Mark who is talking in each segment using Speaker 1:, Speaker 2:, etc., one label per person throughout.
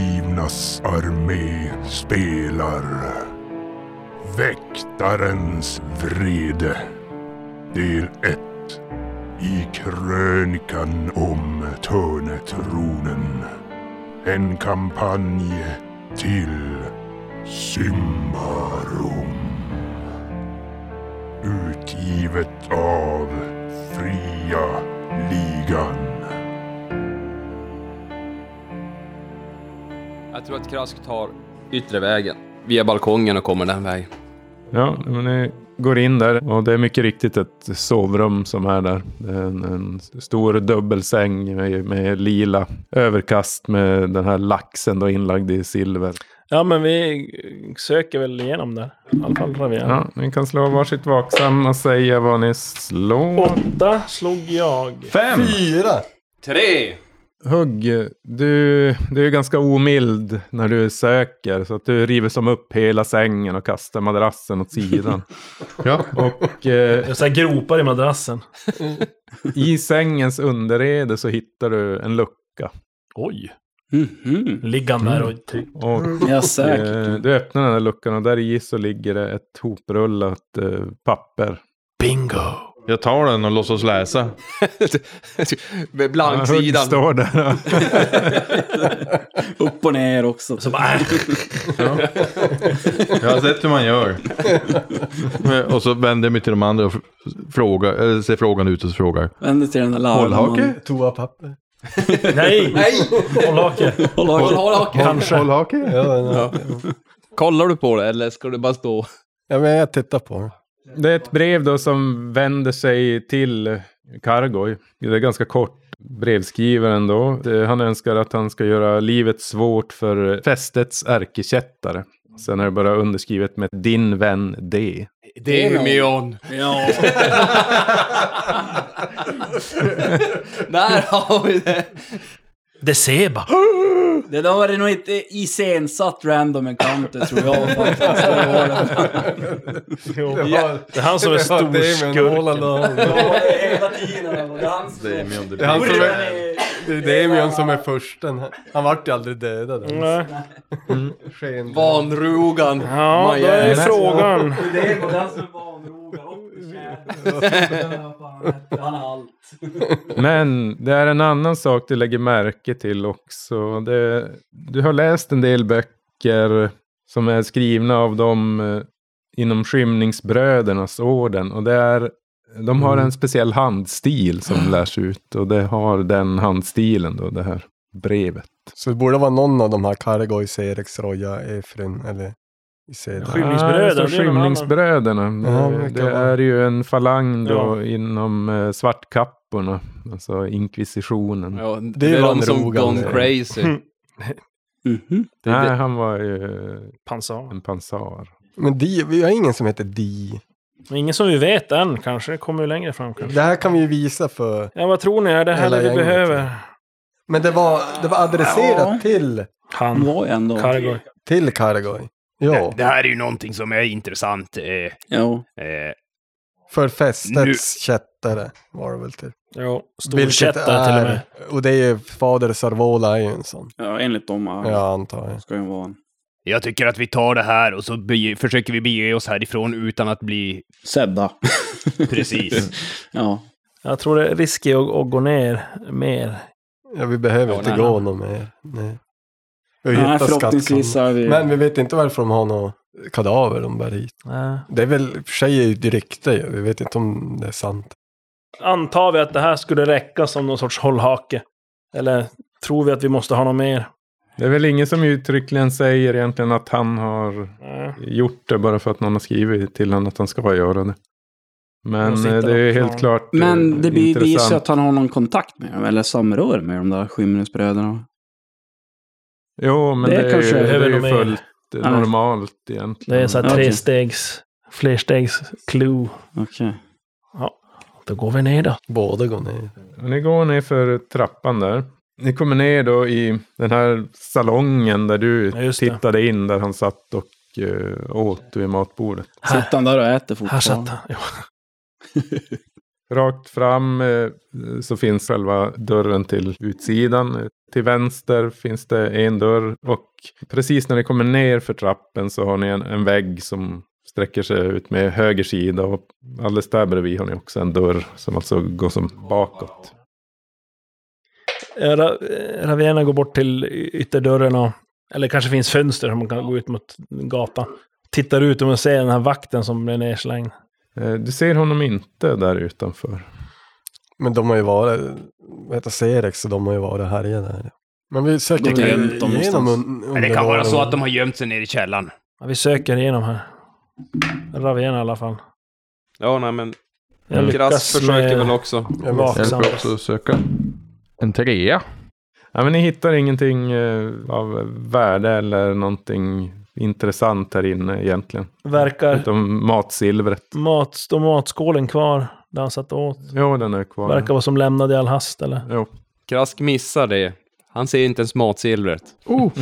Speaker 1: Leonas armé spelar Väktarens vrede Del 1 I krönikan om Törnetronen En kampanj till Symbarom Utgivet av Fria Ligan
Speaker 2: Jag tror att Krask tar yttre vägen. Via balkongen och kommer den vägen.
Speaker 3: Ja, men ni går in där och det är mycket riktigt ett sovrum som är där. Det är en, en stor dubbelsäng med, med lila överkast med den här laxen då inlagd i silver.
Speaker 4: Ja, men vi söker väl igenom där. I alla fall Ravia.
Speaker 3: Ja, ni kan slå varsitt vaksam och säga vad ni slår.
Speaker 4: Åtta slog jag.
Speaker 3: Fem!
Speaker 5: Fyra!
Speaker 2: Tre!
Speaker 3: Hugg, du, du är ganska omild när du söker. Så att du river som upp hela sängen och kastar madrassen åt sidan.
Speaker 5: Ja.
Speaker 3: Och eh,
Speaker 4: Jag så här gropar i madrassen.
Speaker 3: i sängens underrede så hittar du en lucka.
Speaker 4: Oj.
Speaker 6: Mhm.
Speaker 4: Ligger han där och typ.
Speaker 3: Och
Speaker 6: Ja,
Speaker 3: Eh,
Speaker 6: säkert.
Speaker 3: Du öppnar den här luckan och där i så ligger det ett hoprullat eh, papper.
Speaker 4: Bingo.
Speaker 5: Jag tar den och låtsas läsa.
Speaker 2: Med
Speaker 3: Ja, Hugg
Speaker 2: blanksidan.
Speaker 3: står där.
Speaker 6: Upp och ner också.
Speaker 4: Så bara, äh,
Speaker 5: Jag har sett hur man gör. Men- Och så vänder jag mig till de andra och f- frågar, eller ser frågan ut och så frågar.
Speaker 6: Vänd dig till den där larven.
Speaker 5: Hållhake?
Speaker 7: Toapapper.
Speaker 4: nej!
Speaker 2: Nej!
Speaker 4: Hållhake.
Speaker 2: Håll,
Speaker 6: Hållhake.
Speaker 2: håll haken.
Speaker 4: Kanske.
Speaker 5: Hållhake?
Speaker 7: Ja, den-
Speaker 2: Kollar du på det eller ska du bara stå?
Speaker 7: ja, men jag tittar på den.
Speaker 3: Det är ett brev då som vänder sig till Kargoj. Det är ganska kort. Brevskrivaren då, eh, han önskar att han ska göra livet svårt för fästets ärkekättare. Sen är det bara underskrivet med din vän D.
Speaker 2: Demion.
Speaker 6: Ja.
Speaker 2: Där har vi det.
Speaker 4: Deceba.
Speaker 6: Det där var det nog inte iscensatt random encounter tror jag faktiskt. Det var det.
Speaker 4: Det är han som är storskurken.
Speaker 6: Hela tiden. Det var hans fel.
Speaker 7: Det är han som är,
Speaker 6: Nej.
Speaker 7: det är Demion som är försten. Han vart ju aldrig dödad.
Speaker 4: Nej.
Speaker 7: Sken.
Speaker 2: Vanrogan.
Speaker 4: Ja, då är
Speaker 3: Majorna.
Speaker 4: frågan.
Speaker 6: Det är den som är vanroga och kär. Han har allt.
Speaker 3: Men det är en annan sak du lägger märke till också. Det, du har läst en del böcker som är skrivna av dem eh, inom skymningsbrödernas orden. Och det är, de
Speaker 7: Mm.
Speaker 3: har en speciell handstil
Speaker 7: Ah.
Speaker 3: som lärs ut. Och det har den handstilen då, det här brevet.
Speaker 7: Så det borde vara någon av de här Kargoj, Serex, Roja, Efrun eller Isedra.
Speaker 4: Skymningsbröderna,
Speaker 3: Ja, så
Speaker 4: det är någon annan.
Speaker 3: skymningsbröderna.
Speaker 7: Ja,
Speaker 3: Det,
Speaker 7: verkar
Speaker 3: det
Speaker 7: vara.
Speaker 3: är ju en falang då
Speaker 4: Ja.
Speaker 3: inom eh, svartkapporna. Alltså inkvisitionen.
Speaker 2: Ja, det,
Speaker 7: är
Speaker 2: är de som
Speaker 7: Vanrogan,
Speaker 2: gone
Speaker 7: det.
Speaker 2: crazy.
Speaker 8: Mm.
Speaker 6: Mhm.
Speaker 2: Det,
Speaker 3: Nej,
Speaker 2: det,
Speaker 3: han var ju eh,
Speaker 4: Pansar.
Speaker 3: en pansar.
Speaker 7: Men Di, vi har ingen som heter Di.
Speaker 4: Men ingen som vi vet än kanske. Det kommer ju längre fram kanske.
Speaker 7: Det här kan vi ju visa för...
Speaker 4: Ja, vad tror ni? Är det här
Speaker 7: Hela
Speaker 4: det vi
Speaker 7: gänget.
Speaker 4: behöver?
Speaker 7: Men det var, det var adresserat
Speaker 6: Ja.
Speaker 7: till,
Speaker 6: Han
Speaker 4: Han.
Speaker 6: var ju ändå...
Speaker 4: Cargo.
Speaker 7: till Kargoj. Ja,
Speaker 8: Det här är ju någonting som är intressant. Eh,
Speaker 6: Ja.
Speaker 8: eh,
Speaker 7: för
Speaker 8: Nu.
Speaker 7: fästets kättare var det väl till.
Speaker 4: Ja,
Speaker 7: Vilket
Speaker 4: storkättare till och med.
Speaker 7: Och det är ju fader Sarvola är ju en sån.
Speaker 6: ja, enligt dem ja.
Speaker 7: Ja, antar jag.
Speaker 6: ska ju vara en
Speaker 8: jag tycker att vi tar det här och så bege, försöker vi bege oss härifrån utan att bli...
Speaker 6: sedda.
Speaker 8: Precis.
Speaker 6: Ja.
Speaker 4: Jag tror det är riskigt att, att gå ner mer.
Speaker 7: Ja, vi behöver
Speaker 2: Ja,
Speaker 7: inte
Speaker 2: nej,
Speaker 7: gå
Speaker 2: nej.
Speaker 7: någon mer. Nej. Vi har
Speaker 6: Nej,
Speaker 7: hittat
Speaker 6: förhoppningsvis
Speaker 7: skattkammaren.
Speaker 6: är vi...
Speaker 7: Men vi vet inte varför de har några kadaver de bär hit.
Speaker 4: Nej.
Speaker 7: Det är väl i och för sig ett rykte ju. Vi vet inte om det är sant.
Speaker 4: Antar vi att det här skulle räcka som någon sorts hållhake? Eller tror vi att vi måste ha något mer?
Speaker 3: Det är väl ingen som uttryckligen säger egentligen att han har
Speaker 6: Mm.
Speaker 4: Nej.
Speaker 3: gjort det bara för att någon har skrivit till honom att han ska göra det. Men
Speaker 4: Och sitta
Speaker 3: eh, det är
Speaker 4: och
Speaker 3: helt
Speaker 4: plan.
Speaker 3: klart eh,
Speaker 6: Men det blir visar
Speaker 3: intressant.
Speaker 6: att han har någon kontakt med dem, eller samrör med de där skymningsbröderna.
Speaker 3: Jo, men
Speaker 6: Det
Speaker 3: det är,
Speaker 6: kanske
Speaker 3: ju, det
Speaker 4: behöver
Speaker 3: är ju
Speaker 4: de mer.
Speaker 3: fullt eh,
Speaker 6: Ja.
Speaker 3: normalt egentligen.
Speaker 4: Det är så här
Speaker 6: Ja, Mm, okej.
Speaker 4: trestegs, flerstegs clue.
Speaker 6: Okej.
Speaker 4: Då går vi ner då.
Speaker 7: Båda går ner.
Speaker 3: Och ni går ner för trappan där. Ni kommer ner då i den här salongen där du
Speaker 4: Ja, just det.
Speaker 3: tittade in där han satt och eh, åt vid matbordet.
Speaker 4: Här.
Speaker 6: Sitter han där och äter
Speaker 4: Här satt
Speaker 6: fortfarande?
Speaker 4: han. Ja.
Speaker 3: Rakt fram eh, så finns själva dörren till utsidan. Till vänster finns det en dörr och precis när ni kommer ner för trappen så har ni en, en vägg som sträcker sig ut med höger sida. Och alldeles där bredvid har ni också en dörr som alltså går som bakåt.
Speaker 4: Eh, Ra- eh, Ravena går bort till y- ytterdörren och... Eller kanske finns fönster som man kan gå ut mot gatan. Tittar ut och ser den här vakten som blir nerslängd.
Speaker 3: Eh, Du ser honom inte där utanför.
Speaker 7: Men de har ju varit, vad heter Cerex, så de har ju varit härjade här. Men vi söker
Speaker 6: De har
Speaker 7: väl
Speaker 6: gömt dem
Speaker 7: igenom
Speaker 6: någonstans.
Speaker 7: un-
Speaker 8: Men det kan vara så att de
Speaker 7: undervåningen.
Speaker 8: har gömt sig nere i källaren.
Speaker 4: Ja, vi söker igenom här. Ravena i alla fall.
Speaker 2: Ja, nej men.
Speaker 4: Jag
Speaker 6: Mm.
Speaker 2: Grass
Speaker 4: lyckas
Speaker 2: försöker
Speaker 4: med
Speaker 2: väl också.
Speaker 7: Jag
Speaker 4: vak-
Speaker 7: missar.
Speaker 5: Hjälper också att söka. En trea.
Speaker 3: Ja, men ni hittar ingenting eh, av värde eller någonting intressant här inne egentligen.
Speaker 4: verkar
Speaker 3: Utom matsilvret.
Speaker 4: mat, står matskålen kvar där han satt åt.
Speaker 3: Jo, den är kvar.
Speaker 4: Verkar vara som lämnad i all hast eller?
Speaker 3: Jo.
Speaker 2: Krask missar det. Han ser inte ens matsilvret.
Speaker 5: Oh,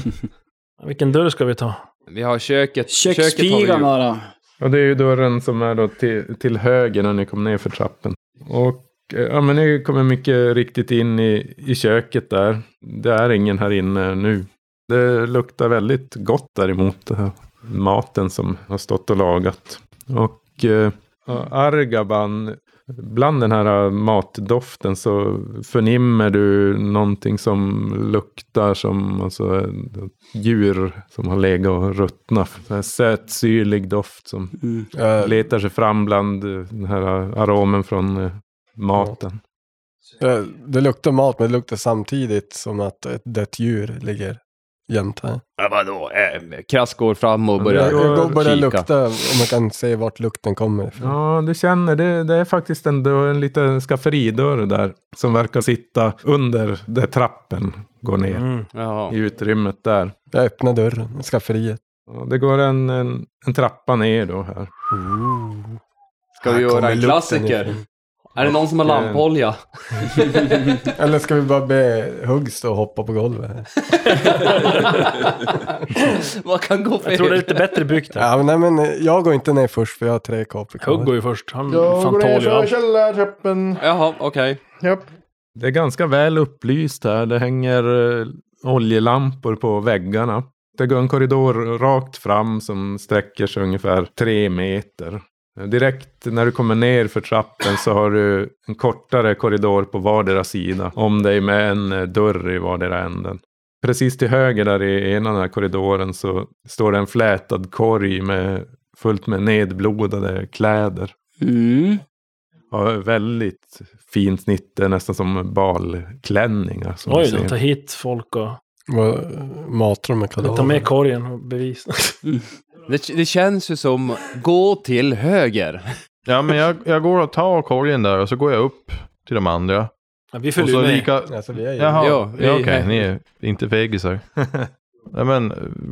Speaker 4: Vilken dörr ska vi ta?
Speaker 2: Vi har köket. Köket har vi
Speaker 6: Köksspigan
Speaker 2: ju.
Speaker 6: bara.
Speaker 3: Och det är ju dörren som är då till, till höger när ni kommer ner för trappen. Och eh, ja, men ni kommer mycket riktigt in i, i köket där. Det är ingen här inne nu. Det luktar väldigt gott däremot, det här maten som har stått och lagat. Och eh, ja, Argaban, bland den här matdoften så förnimmer du någonting som luktar som alltså, eh, djur som har legat och ruttnat. Så här Sötsyrlig doft som
Speaker 6: Mm.
Speaker 7: Jag,
Speaker 3: letar sig fram bland eh, den här aromen från eh, maten.
Speaker 7: jag, det luktar mat, men det luktar samtidigt som att ett dött djur ligger jämt här.
Speaker 8: Ja, vadå? Eh,
Speaker 2: Krask går fram och
Speaker 7: Jag,
Speaker 2: börjar
Speaker 7: jag går och börjar
Speaker 2: kika.
Speaker 7: lukta, om man kan se vart lukten kommer ifrån.
Speaker 3: Ja, du känner, det, det är faktiskt en, dörr, en liten skafferidörr där som verkar sitta under där trappen går ner
Speaker 4: Mm.
Speaker 2: Ja.
Speaker 3: i utrymmet där.
Speaker 7: Jag öppnar dörren, skafferiet.
Speaker 3: Ja, Det går en, en, en trappa ner då här.
Speaker 2: Ska vi
Speaker 7: Här
Speaker 2: göra
Speaker 7: kommer
Speaker 2: en
Speaker 7: lukten
Speaker 2: klassiker?
Speaker 7: ifrån.
Speaker 2: Är det någon som har
Speaker 3: Och, eh,
Speaker 2: lampolja?
Speaker 7: Eller ska vi bara be Huggs då hoppa på golvet? här?
Speaker 2: Vad kan gå
Speaker 4: Jag tror det är
Speaker 2: fel?
Speaker 4: lite bättre byggt här.
Speaker 7: Ja, men, nej, men jag går inte ner först för jag har tre kåpor
Speaker 4: Hugg
Speaker 7: kvar.
Speaker 4: går ju först. Han fan tål ju allt.
Speaker 5: källartrappen.
Speaker 2: Jaha, okej.
Speaker 5: Japp.
Speaker 3: Det är ganska väl upplyst här. Det hänger eh, oljelampor på väggarna. Det går en korridor rakt fram som sträcker sig ungefär tre meter. Direkt när du kommer ner för trappen så har du en kortare korridor på vardera sida om dig med en eh, dörr i vardera änden. Precis till höger där i ena den här korridoren så står det en flätad korg med fullt med nedblodade kläder.
Speaker 6: Mm.
Speaker 3: Ja, väldigt fint snitt. Det är nästan som balklänningar. Som
Speaker 4: Oj
Speaker 3: du ser.
Speaker 4: då, ta hit folk och
Speaker 7: Vad- Matar de med
Speaker 4: ta med
Speaker 7: kadaver?
Speaker 4: korgen och bevis.
Speaker 2: Det, det känns ju som, gå till höger.
Speaker 5: Ja, men jag, jag går och tar korgen där och så går jag upp till de andra.
Speaker 4: Ja, vi
Speaker 5: Och
Speaker 4: följer
Speaker 5: så
Speaker 4: med.
Speaker 5: lika...
Speaker 7: Alltså, vi är ju...
Speaker 5: Jaha,
Speaker 2: Ja,
Speaker 5: ja,
Speaker 2: vi-
Speaker 5: okej, ni är inte fegisar. Nej men,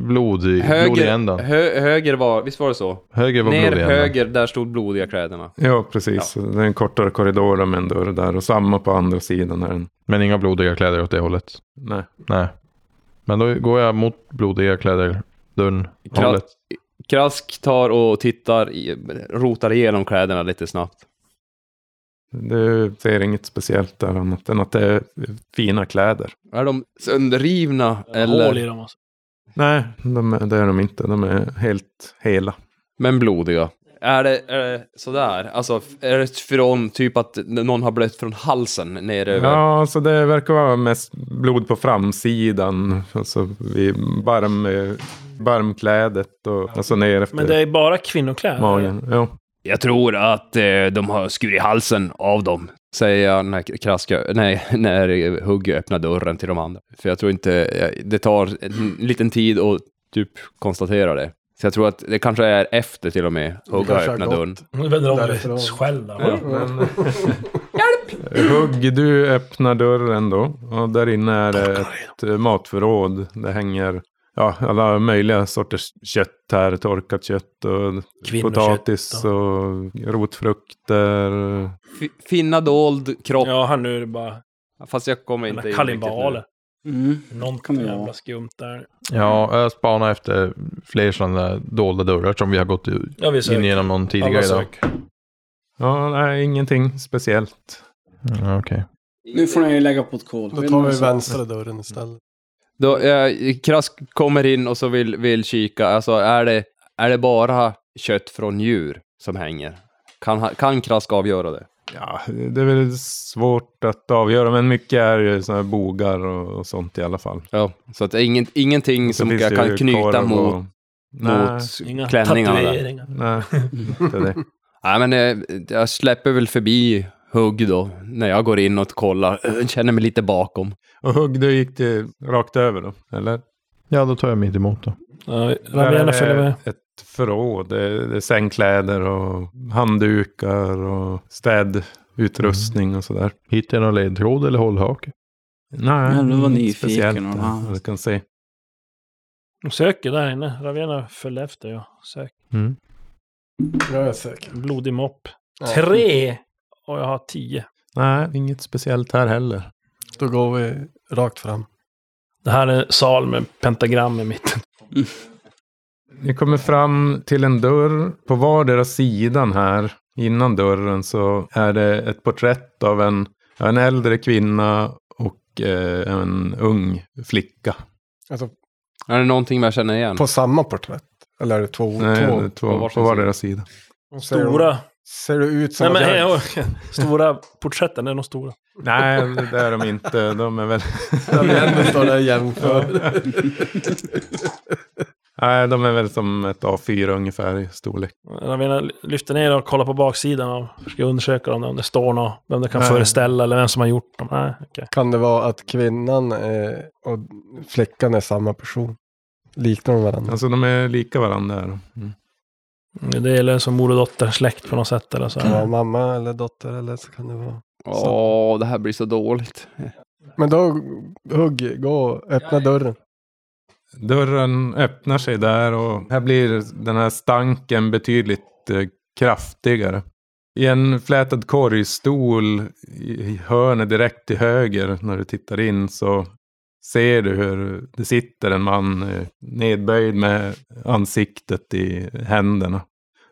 Speaker 5: blod i, blod i
Speaker 2: Höger,
Speaker 5: ändan.
Speaker 2: hö, höger var, visst var det så?
Speaker 5: Höger var
Speaker 2: Ner
Speaker 5: blod i ändan.
Speaker 2: höger, där stod blodiga kläderna.
Speaker 3: Ja, precis. Det är en kortare korridor med en dörr där. Och samma på andra sidan. Här.
Speaker 5: Men inga blodiga kläder åt det hållet.
Speaker 3: Nej.
Speaker 5: Nej. Men då går jag mot blodiga kläder. Dörren.
Speaker 2: Kra-
Speaker 5: Hållet.
Speaker 2: Krask tar och tittar, i, rotar igenom kläderna lite snabbt.
Speaker 3: Du ser inget speciellt där annat än att det är fina kläder.
Speaker 2: Är de sönderrivna
Speaker 4: Hål i
Speaker 2: eller?
Speaker 4: dem alltså.
Speaker 3: Nej, de, är- det är de inte. De är helt hela.
Speaker 2: Men blodiga. Är det, är det sådär? Alltså, är det från typ att någon har blött från halsen ner över?
Speaker 3: Ja, så det verkar vara mest blod på framsidan. Alltså vid barm, eh, barmklädet och alltså ner efter
Speaker 4: Men det är bara kvinnokläder.
Speaker 3: magen. Ja.
Speaker 8: Jag tror att eh, de har skurit halsen av dem.
Speaker 2: Säger jag när, kraska, nej, när Hugg öppnar dörren till de andra. För jag tror inte, eh, det tar en liten tid att typ konstatera det. Så jag tror att det kanske är efter till och med Hugg
Speaker 7: kanske
Speaker 2: har
Speaker 7: har
Speaker 2: öppnat
Speaker 7: gått.
Speaker 2: dörren.
Speaker 4: Nu vänder de
Speaker 7: Därifrån.
Speaker 4: dig själv där.
Speaker 3: Men... Hugg, du öppnar dörren då. Och där inne är det ett eh, matförråd. Det hänger ja, alla möjliga sorters kött här. Torkat kött och
Speaker 4: Kvinnokött
Speaker 3: potatis och rotfrukter.
Speaker 2: F- finna dold kropp.
Speaker 4: Ja, han nu är det bara
Speaker 2: Fast jag kommer inte in
Speaker 4: kalimbaler.
Speaker 6: Mm.
Speaker 4: Någonting
Speaker 6: Kan det
Speaker 4: jävla
Speaker 6: vara.
Speaker 4: skumt där.
Speaker 5: Ja, jag spanar efter fler sådana där dolda dörrar som vi har gått u-
Speaker 4: Ja, vi
Speaker 5: in
Speaker 4: söker.
Speaker 5: genom någon
Speaker 4: Alla
Speaker 5: tidigare idag.
Speaker 4: sök.
Speaker 3: Ja, nej, ingenting speciellt.
Speaker 5: Mm, Okej.
Speaker 6: Nu får ni ju lägga på ett kol.
Speaker 7: Då tar vi vänstra dörren istället.
Speaker 2: Då, eh, Krask kommer in och så vill, vill kika, alltså är det, är det bara kött från djur som hänger? Kan, ha- kan Krask avgöra det?
Speaker 3: Ja, det är väl svårt att avgöra, men mycket är ju sådana här bogar och, och sånt i alla fall.
Speaker 2: Ja. Så att det är inget, ingenting
Speaker 3: Så
Speaker 2: som
Speaker 3: finns
Speaker 2: jag
Speaker 3: det ju
Speaker 2: kan knyta
Speaker 3: korv och-
Speaker 2: mot,
Speaker 3: Nej,
Speaker 2: mot
Speaker 4: Inga
Speaker 2: klänningarna där.
Speaker 4: tatueringar.
Speaker 3: nej, inte det.
Speaker 2: Nej, men eh, jag släpper väl förbi hugg då, när jag går in och kollar. Jag känner mig lite bakom.
Speaker 3: Och hugg, då gick det rakt över då, eller?
Speaker 5: Ja, då tar jag mitt emot då.
Speaker 4: Ja,
Speaker 3: Där är
Speaker 4: Ravena följer med.
Speaker 3: Ett förråd, det är, det är sängkläder och handdukar och städutrustning och sådär.
Speaker 5: Hittar jag någon ledtråd eller hållhake?
Speaker 3: Nej,
Speaker 6: Ja, du var
Speaker 3: inget
Speaker 6: nyfiken
Speaker 3: speciellt,
Speaker 6: och-
Speaker 3: ja, Jag kan se.
Speaker 4: De söker där inne. Ravena följer efter. Ja. Sök.
Speaker 5: Mm.
Speaker 7: Ja, jag är säker.
Speaker 4: Blodig mopp.
Speaker 7: Ja.
Speaker 4: Tre! Och jag har tio.
Speaker 3: Nej, inget speciellt här heller.
Speaker 7: Då går vi rakt fram.
Speaker 4: Det här är en sal med pentagram i mitten.
Speaker 3: Ni kommer fram till en dörr. På vardera sidan här, innan dörren, så är det ett porträtt av en, ja, en äldre kvinna och eh, en ung flicka.
Speaker 7: Alltså,
Speaker 2: Är det någonting jag känner igen?
Speaker 7: på samma porträtt? Eller är det två?
Speaker 3: Nej,
Speaker 7: två?
Speaker 3: två,
Speaker 2: på
Speaker 3: två,
Speaker 2: varsin
Speaker 3: på vardera sida.
Speaker 4: De stora.
Speaker 7: Ser det ut som
Speaker 4: Nej, men,
Speaker 7: att jag...
Speaker 4: hej, stora porträtten, det är de stora.
Speaker 3: Nej, det är de inte. De är väl...
Speaker 7: Ändå står där jämför.
Speaker 3: Nej, de är väl som ett A4 ungefär i storlek.
Speaker 4: Ravena lyfter ner och kollar på baksidan och försöker undersöka om det, om det står något, vem det kan
Speaker 7: Nej.
Speaker 4: föreställa eller vem som har gjort dem. Nej, okej.
Speaker 7: Kan det vara att kvinnan eh, och flickan är samma person? Liknar de varandra?
Speaker 3: Alltså de är lika varandra. här. Mm.
Speaker 4: Det är som mor och dotter, släkt på något sätt eller så.
Speaker 7: Kan det vara mamma eller dotter eller så kan det vara...
Speaker 2: Åh, det här blir så dåligt.
Speaker 7: Men då, hugg, gå, öppna dörren.
Speaker 3: Dörren öppnar sig där och här blir den här stanken betydligt eh, kraftigare. I en flätad korgstol i i hörnet direkt till höger när du tittar in så ser du hur det sitter en man eh, nedböjd med ansiktet i händerna.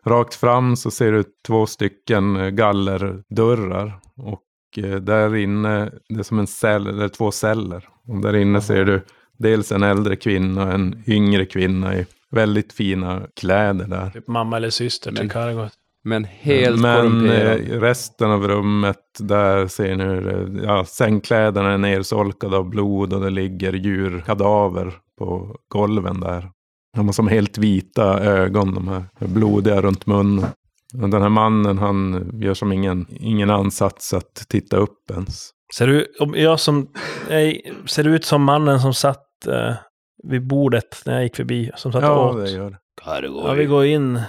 Speaker 3: Rakt fram så ser du två stycken eh, gallerdörrar och eh, där inne, det är som en cell, eller två celler. Och där inne ser du Dels en äldre kvinna och en yngre kvinna i väldigt fina kläder där.
Speaker 4: Typ mamma eller syster till
Speaker 2: Men-
Speaker 4: Kargot.
Speaker 2: Men helt
Speaker 3: Men
Speaker 2: korrumperad.
Speaker 3: eh, resten av rummet, där ser ni hur eh, ja, sängkläderna är nersolkade av blod och det ligger djurkadaver på golven där. De har som helt vita ögon, de här blodiga runt munnen. Och Den här mannen, han gör som ingen, ingen ansats att titta upp ens.
Speaker 4: Ser du, om jag som, nej, ser du ut som mannen som satt eh, vid bordet när jag gick förbi? Som satt och
Speaker 3: Ja,
Speaker 4: åt?
Speaker 3: det gör det.
Speaker 4: Ja, vi går in.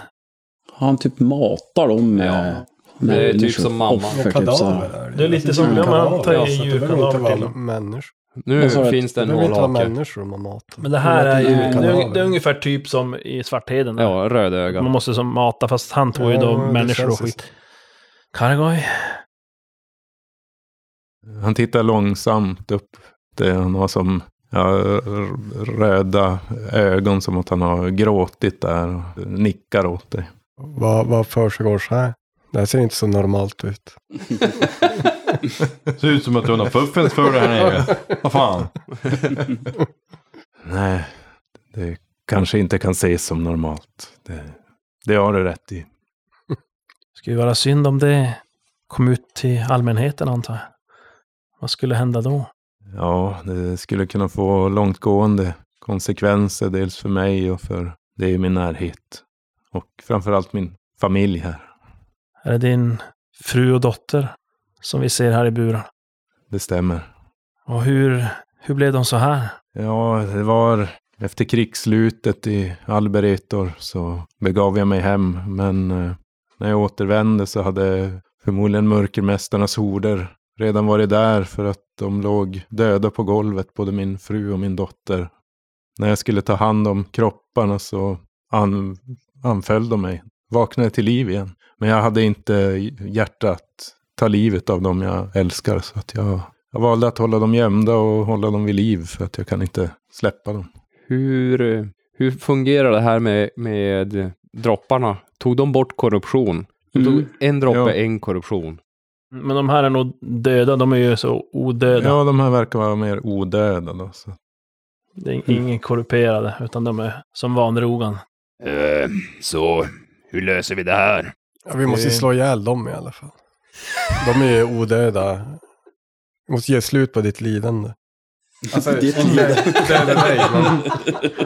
Speaker 6: Han typ matar dem med...
Speaker 7: Ja.
Speaker 6: med
Speaker 2: Det är typ
Speaker 6: människor.
Speaker 2: som mamma.
Speaker 6: Offer,
Speaker 7: Och
Speaker 6: typ så här.
Speaker 7: kadaver är det.
Speaker 4: Det är lite som-
Speaker 7: Mm.
Speaker 4: ja, men han tar ju
Speaker 7: Kadaver, så det behöver inte
Speaker 4: djurkadaver
Speaker 7: vara
Speaker 4: till.
Speaker 7: människor.
Speaker 2: Nu
Speaker 6: Vad sa du?
Speaker 2: finns det
Speaker 7: Det
Speaker 2: en
Speaker 7: behöver inte vara
Speaker 2: hållhake.
Speaker 7: människor de har mat.
Speaker 4: Men det här är ju,
Speaker 6: Nej.
Speaker 4: det är, det är ungefär typ som i Svartheden.
Speaker 2: Ja,
Speaker 4: Man
Speaker 2: rödöga.
Speaker 4: måste som mata, fast han tog ju
Speaker 7: Ja,
Speaker 4: då
Speaker 7: det
Speaker 4: människor och
Speaker 7: känns
Speaker 4: skit. Kargoj.
Speaker 3: Han tittar långsamt upp. Det han har som ja, r- röda ögon som att han har gråtit där och nickar åt dig.
Speaker 7: Vad, vad försiggår så här? Det här ser inte så normalt ut.
Speaker 5: Ser ut som att du har någon fuffens för dig här nere. Vad fan?
Speaker 3: Nej, det kanske inte kan ses som normalt. Det, det har du rätt i.
Speaker 4: Skulle ju vara synd om det kom ut till allmänheten antar jag. Vad skulle hända då?
Speaker 3: Ja, det skulle kunna få långtgående konsekvenser dels för mig och för det i min närhet. Och framförallt min familj här.
Speaker 4: Är det din fru och dotter som vi ser här i buren?
Speaker 3: Det stämmer.
Speaker 4: Och hur, hur blev de så här?
Speaker 3: Ja, det var efter krigsslutet i Alberetor så begav jag mig hem. Men eh, när jag återvände så hade förmodligen mörkermästarnas horder redan varit där för att de låg döda på golvet, både min fru och min dotter. När jag skulle ta hand om kropparna så an- anföll de mig. Vaknade till liv igen. Men jag hade inte hjärta att ta livet av dem jag älskar så att jag jag valde att hålla dem gömda och hålla dem vid liv för att jag kan inte släppa dem.
Speaker 2: Hur, eh, hur fungerar det här med, med dropparna? Tog de bort korruption? De tog
Speaker 6: Mm.
Speaker 2: en droppe,
Speaker 3: Ja.
Speaker 2: en korruption.
Speaker 4: Men de här är nog döda, de är ju så odöda.
Speaker 3: Ja, de här verkar vara mer odöda då. Så.
Speaker 4: Det är ingen korrumperade, utan de är som vanrogan.
Speaker 8: Eh, så, hur löser vi det här?
Speaker 7: Ja, vi måste ju slå ihjäl dem i alla fall. De är ju odöda. Vi måste ge slut på ditt lidande. Alltså,
Speaker 6: Ditt
Speaker 7: inte
Speaker 6: lidande.
Speaker 7: döda mig,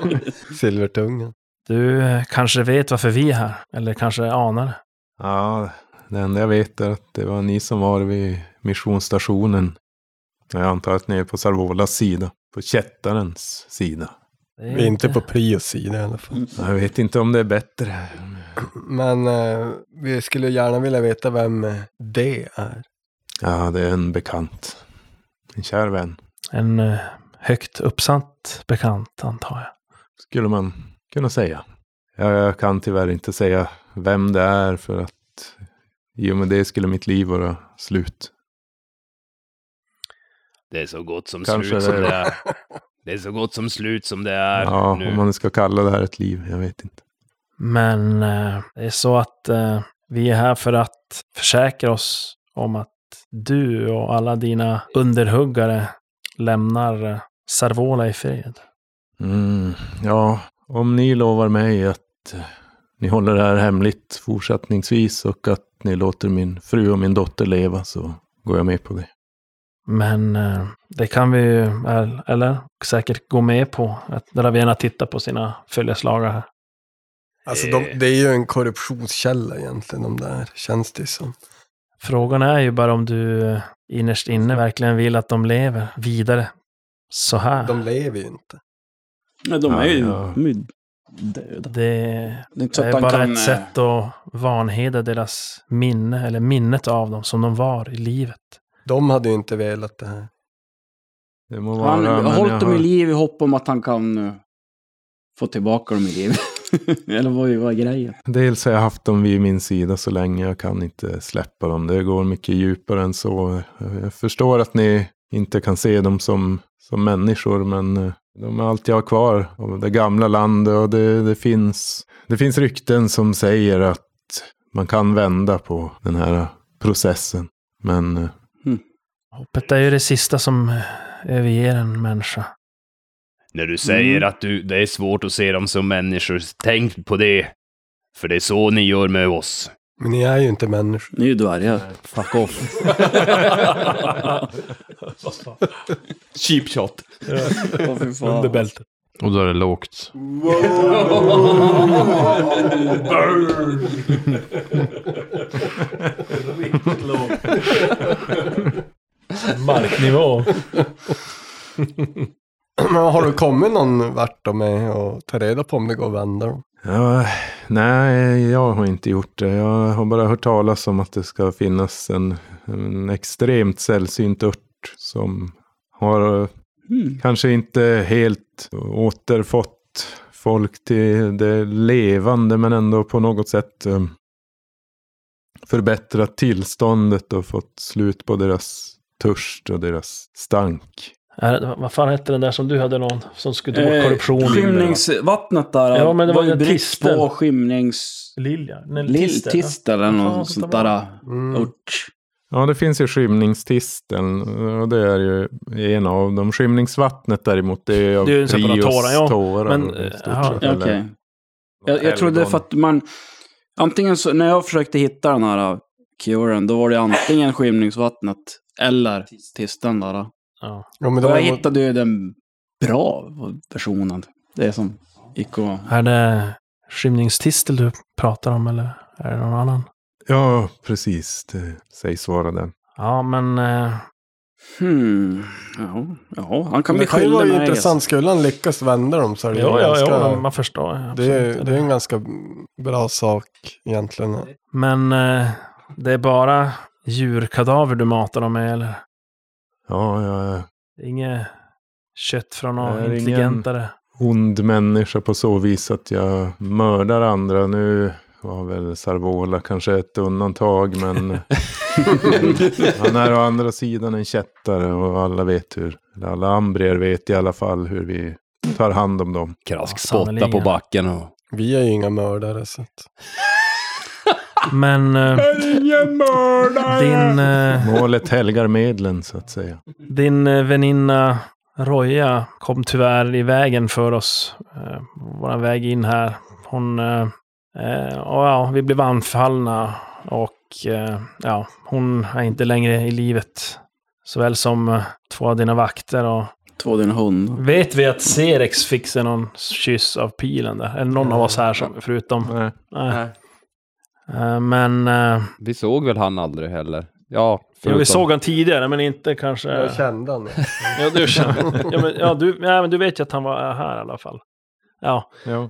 Speaker 7: men- Silvertungan.
Speaker 4: Du eh, kanske vet varför vi är här, eller kanske anar det.
Speaker 3: Ja, det enda jag vet är att det var ni som var vid missionsstationen. Jag antar att ni är på Sarvolas sida. På kättarens sida.
Speaker 4: Det
Speaker 7: Vi är inte på Prios sida i alla fall.
Speaker 3: Jag vet inte om det är bättre.
Speaker 7: Men eh, vi skulle gärna vilja veta vem eh, det är.
Speaker 3: Ja, det är en bekant. En kär vän.
Speaker 4: en eh, högt uppsatt bekant, antar jag.
Speaker 3: skulle man kunna säga. Ja, Jag kan tyvärr inte säga vem det är för att i och med det skulle mitt liv vara slut.
Speaker 8: Det är så gott som
Speaker 3: Kanske
Speaker 8: slut
Speaker 3: det
Speaker 8: som
Speaker 3: är.
Speaker 8: det är. Det är så gott som slut som det är
Speaker 3: Ja,
Speaker 8: nu.
Speaker 3: om man ska kalla det här ett liv, jag vet inte.
Speaker 4: Men eh, det är så att eh, vi är här för att försäkra oss om att du och alla dina underhuggare lämnar eh, Sarvola i fred.
Speaker 3: Mm, ja, om ni lovar mig att eh, ni håller det här hemligt fortsättningsvis och att ni låter min fru och min dotter leva så går jag med på det.
Speaker 4: Men eh, det kan vi ju, el- eller säkert gå med på, att Ravena tittar på sina följeslagare här.
Speaker 7: Alltså
Speaker 8: Eh.
Speaker 7: de, det är ju en korruptionskälla egentligen de där, känns det som.
Speaker 4: Frågan är ju bara om du eh, innerst
Speaker 6: Mm.
Speaker 4: inne verkligen vill att de lever vidare. Så här.
Speaker 7: De lever ju inte.
Speaker 6: Nej, de är ju
Speaker 3: Ja, ja.
Speaker 6: de är ju döda.
Speaker 4: Det
Speaker 6: Det är inte så
Speaker 4: Det
Speaker 6: att
Speaker 4: är
Speaker 6: han
Speaker 4: bara
Speaker 6: kan...
Speaker 4: ett
Speaker 6: eh,
Speaker 4: sätt att vanheda deras minne, eller minnet av dem, som de var i livet.
Speaker 7: De hade ju inte velat det här.
Speaker 3: Det må vara,
Speaker 6: Han
Speaker 3: men
Speaker 6: har
Speaker 3: jag
Speaker 6: hållit dem
Speaker 3: har-
Speaker 6: i liv i hopp om att han kan eh, få tillbaka dem i liv. Eller vad var grejen?
Speaker 3: Dels har jag haft dem vid min sida så länge. Jag kan inte släppa dem. Det går mycket djupare än så. Jag förstår att ni inte kan se dem som, som människor, men eh, de är allt jag har kvar av det gamla landet. Och det, det, finns, det finns rykten som säger att man kan vända på den här processen. Men eh,
Speaker 4: Hoppet är ju det sista som eh, överger en människa.
Speaker 8: När du säger
Speaker 6: Mm.
Speaker 8: att du, det är svårt att se dem som människor, tänk på det. För det är så ni gör med oss.
Speaker 7: Men ni är ju inte människor.
Speaker 6: Nu är ju dvärgar. Fuck off.
Speaker 2: Cheap shot.
Speaker 6: Åh, fy fan.
Speaker 4: Under bältet.
Speaker 5: Och då är det lågt.
Speaker 4: Marknivå.
Speaker 7: Men har du kommit någon vart då med och ta reda på om det går att vända dem?
Speaker 3: Ja, nej, jag har inte gjort det. Jag har bara hört talas om att det ska finnas en, en extremt sällsynt ört som har eh,
Speaker 6: Mm.
Speaker 3: kanske inte helt återfått folk till det levande men ändå på något sätt eh, förbättrat tillståndet och fått slut på deras törst och deras stank.
Speaker 4: Är- Vad fan hette den där som du hade någon som skulle ta bort
Speaker 6: Eh,
Speaker 4: korruption?
Speaker 6: Skymningsvattnet där.
Speaker 4: Ja, men det var
Speaker 6: ju
Speaker 4: den
Speaker 6: brist
Speaker 4: tisten.
Speaker 6: på skymnings...
Speaker 4: Lilja? Nej,
Speaker 6: Lill-
Speaker 4: Tister.
Speaker 6: Tist eller
Speaker 4: Vad fan
Speaker 6: något
Speaker 4: ska
Speaker 6: sånt
Speaker 4: det vara?
Speaker 6: där.
Speaker 7: Mm.
Speaker 6: Ort.
Speaker 3: Ja, det finns ju skymningstisteln och det är ju en av dem. Skymningsvattnet däremot, det är av
Speaker 4: Det är ju en separat
Speaker 3: Prios
Speaker 4: tåra, ja.
Speaker 3: tårar
Speaker 4: Men,
Speaker 3: i stort
Speaker 4: ja,
Speaker 3: sett,
Speaker 6: Ja,
Speaker 3: eller
Speaker 6: Okej. Jag, jag trodde
Speaker 3: helgon.
Speaker 6: för att man... Antingen så, när jag försökte hitta den här kuren, då var det antingen skymningsvattnet eller tisten där. uh. då.
Speaker 4: Ja.
Speaker 7: Ja, men
Speaker 6: Och jag
Speaker 7: de, mot,
Speaker 6: hittade ju den bra versionen. Det är som gick och...
Speaker 4: Är det skymningstistel du pratar om, eller är det någon annan?
Speaker 3: Ja, precis. Det sägs vara den.
Speaker 4: Ja, men eh,
Speaker 6: Hmm. Ja, ja han kan
Speaker 7: men
Speaker 6: bli
Speaker 7: det kan ju
Speaker 6: skyldig
Speaker 7: vara
Speaker 6: mig.
Speaker 7: intressant. Skulle han lyckas vända dem så är det ju
Speaker 4: ja, ja,
Speaker 7: ganska...
Speaker 4: ja, man förstår.
Speaker 7: det, är,
Speaker 4: absolut.
Speaker 7: det är en ganska bra sak egentligen.
Speaker 4: Men eh, det är bara djurkadaver du matar dem med eller?
Speaker 3: Ja, jag är
Speaker 4: Det är Inget kött från
Speaker 3: Det är
Speaker 4: någon
Speaker 3: ingen-
Speaker 4: intelligentare?
Speaker 3: ond människa på så vis att jag mördar andra. Nu var väl Sarvola kanske ett undantag, men han är å andra sidan en kättare och alla vet hur, eller alla ambrier vet i alla fall hur vi tar hand om dem.
Speaker 2: Krask
Speaker 4: Ja,
Speaker 2: spotta
Speaker 4: sannerligen.
Speaker 2: på backen och...
Speaker 7: Vi är ju inga mördare så att...
Speaker 4: Men eh, din, eh,
Speaker 3: Målet helgar medlen så att säga.
Speaker 4: din eh, väninna Roja kom tyvärr i vägen för oss. Eh, Vår väg in här. Hon... Eh, eh, och ja, vi blev anfallna och eh, ja, hon är inte längre i livet. Såväl som eh, två av dina vakter och
Speaker 6: Två din hund.
Speaker 4: Vet vi att Serex fick sig någon kyss av pilen där? Eller någon av oss här som, förutom...
Speaker 3: Nej.
Speaker 4: Nej. Eh, Men... eh,
Speaker 2: Vi såg väl han aldrig heller? Ja,
Speaker 4: Jo,
Speaker 2: förutom...
Speaker 4: vi såg han tidigare, men inte kanske...
Speaker 7: Jag kände han.
Speaker 4: Ja, du känner. ja, men, ja, du, ja, men du vet ju att han var eh, här i alla fall. Ja,
Speaker 3: Ja.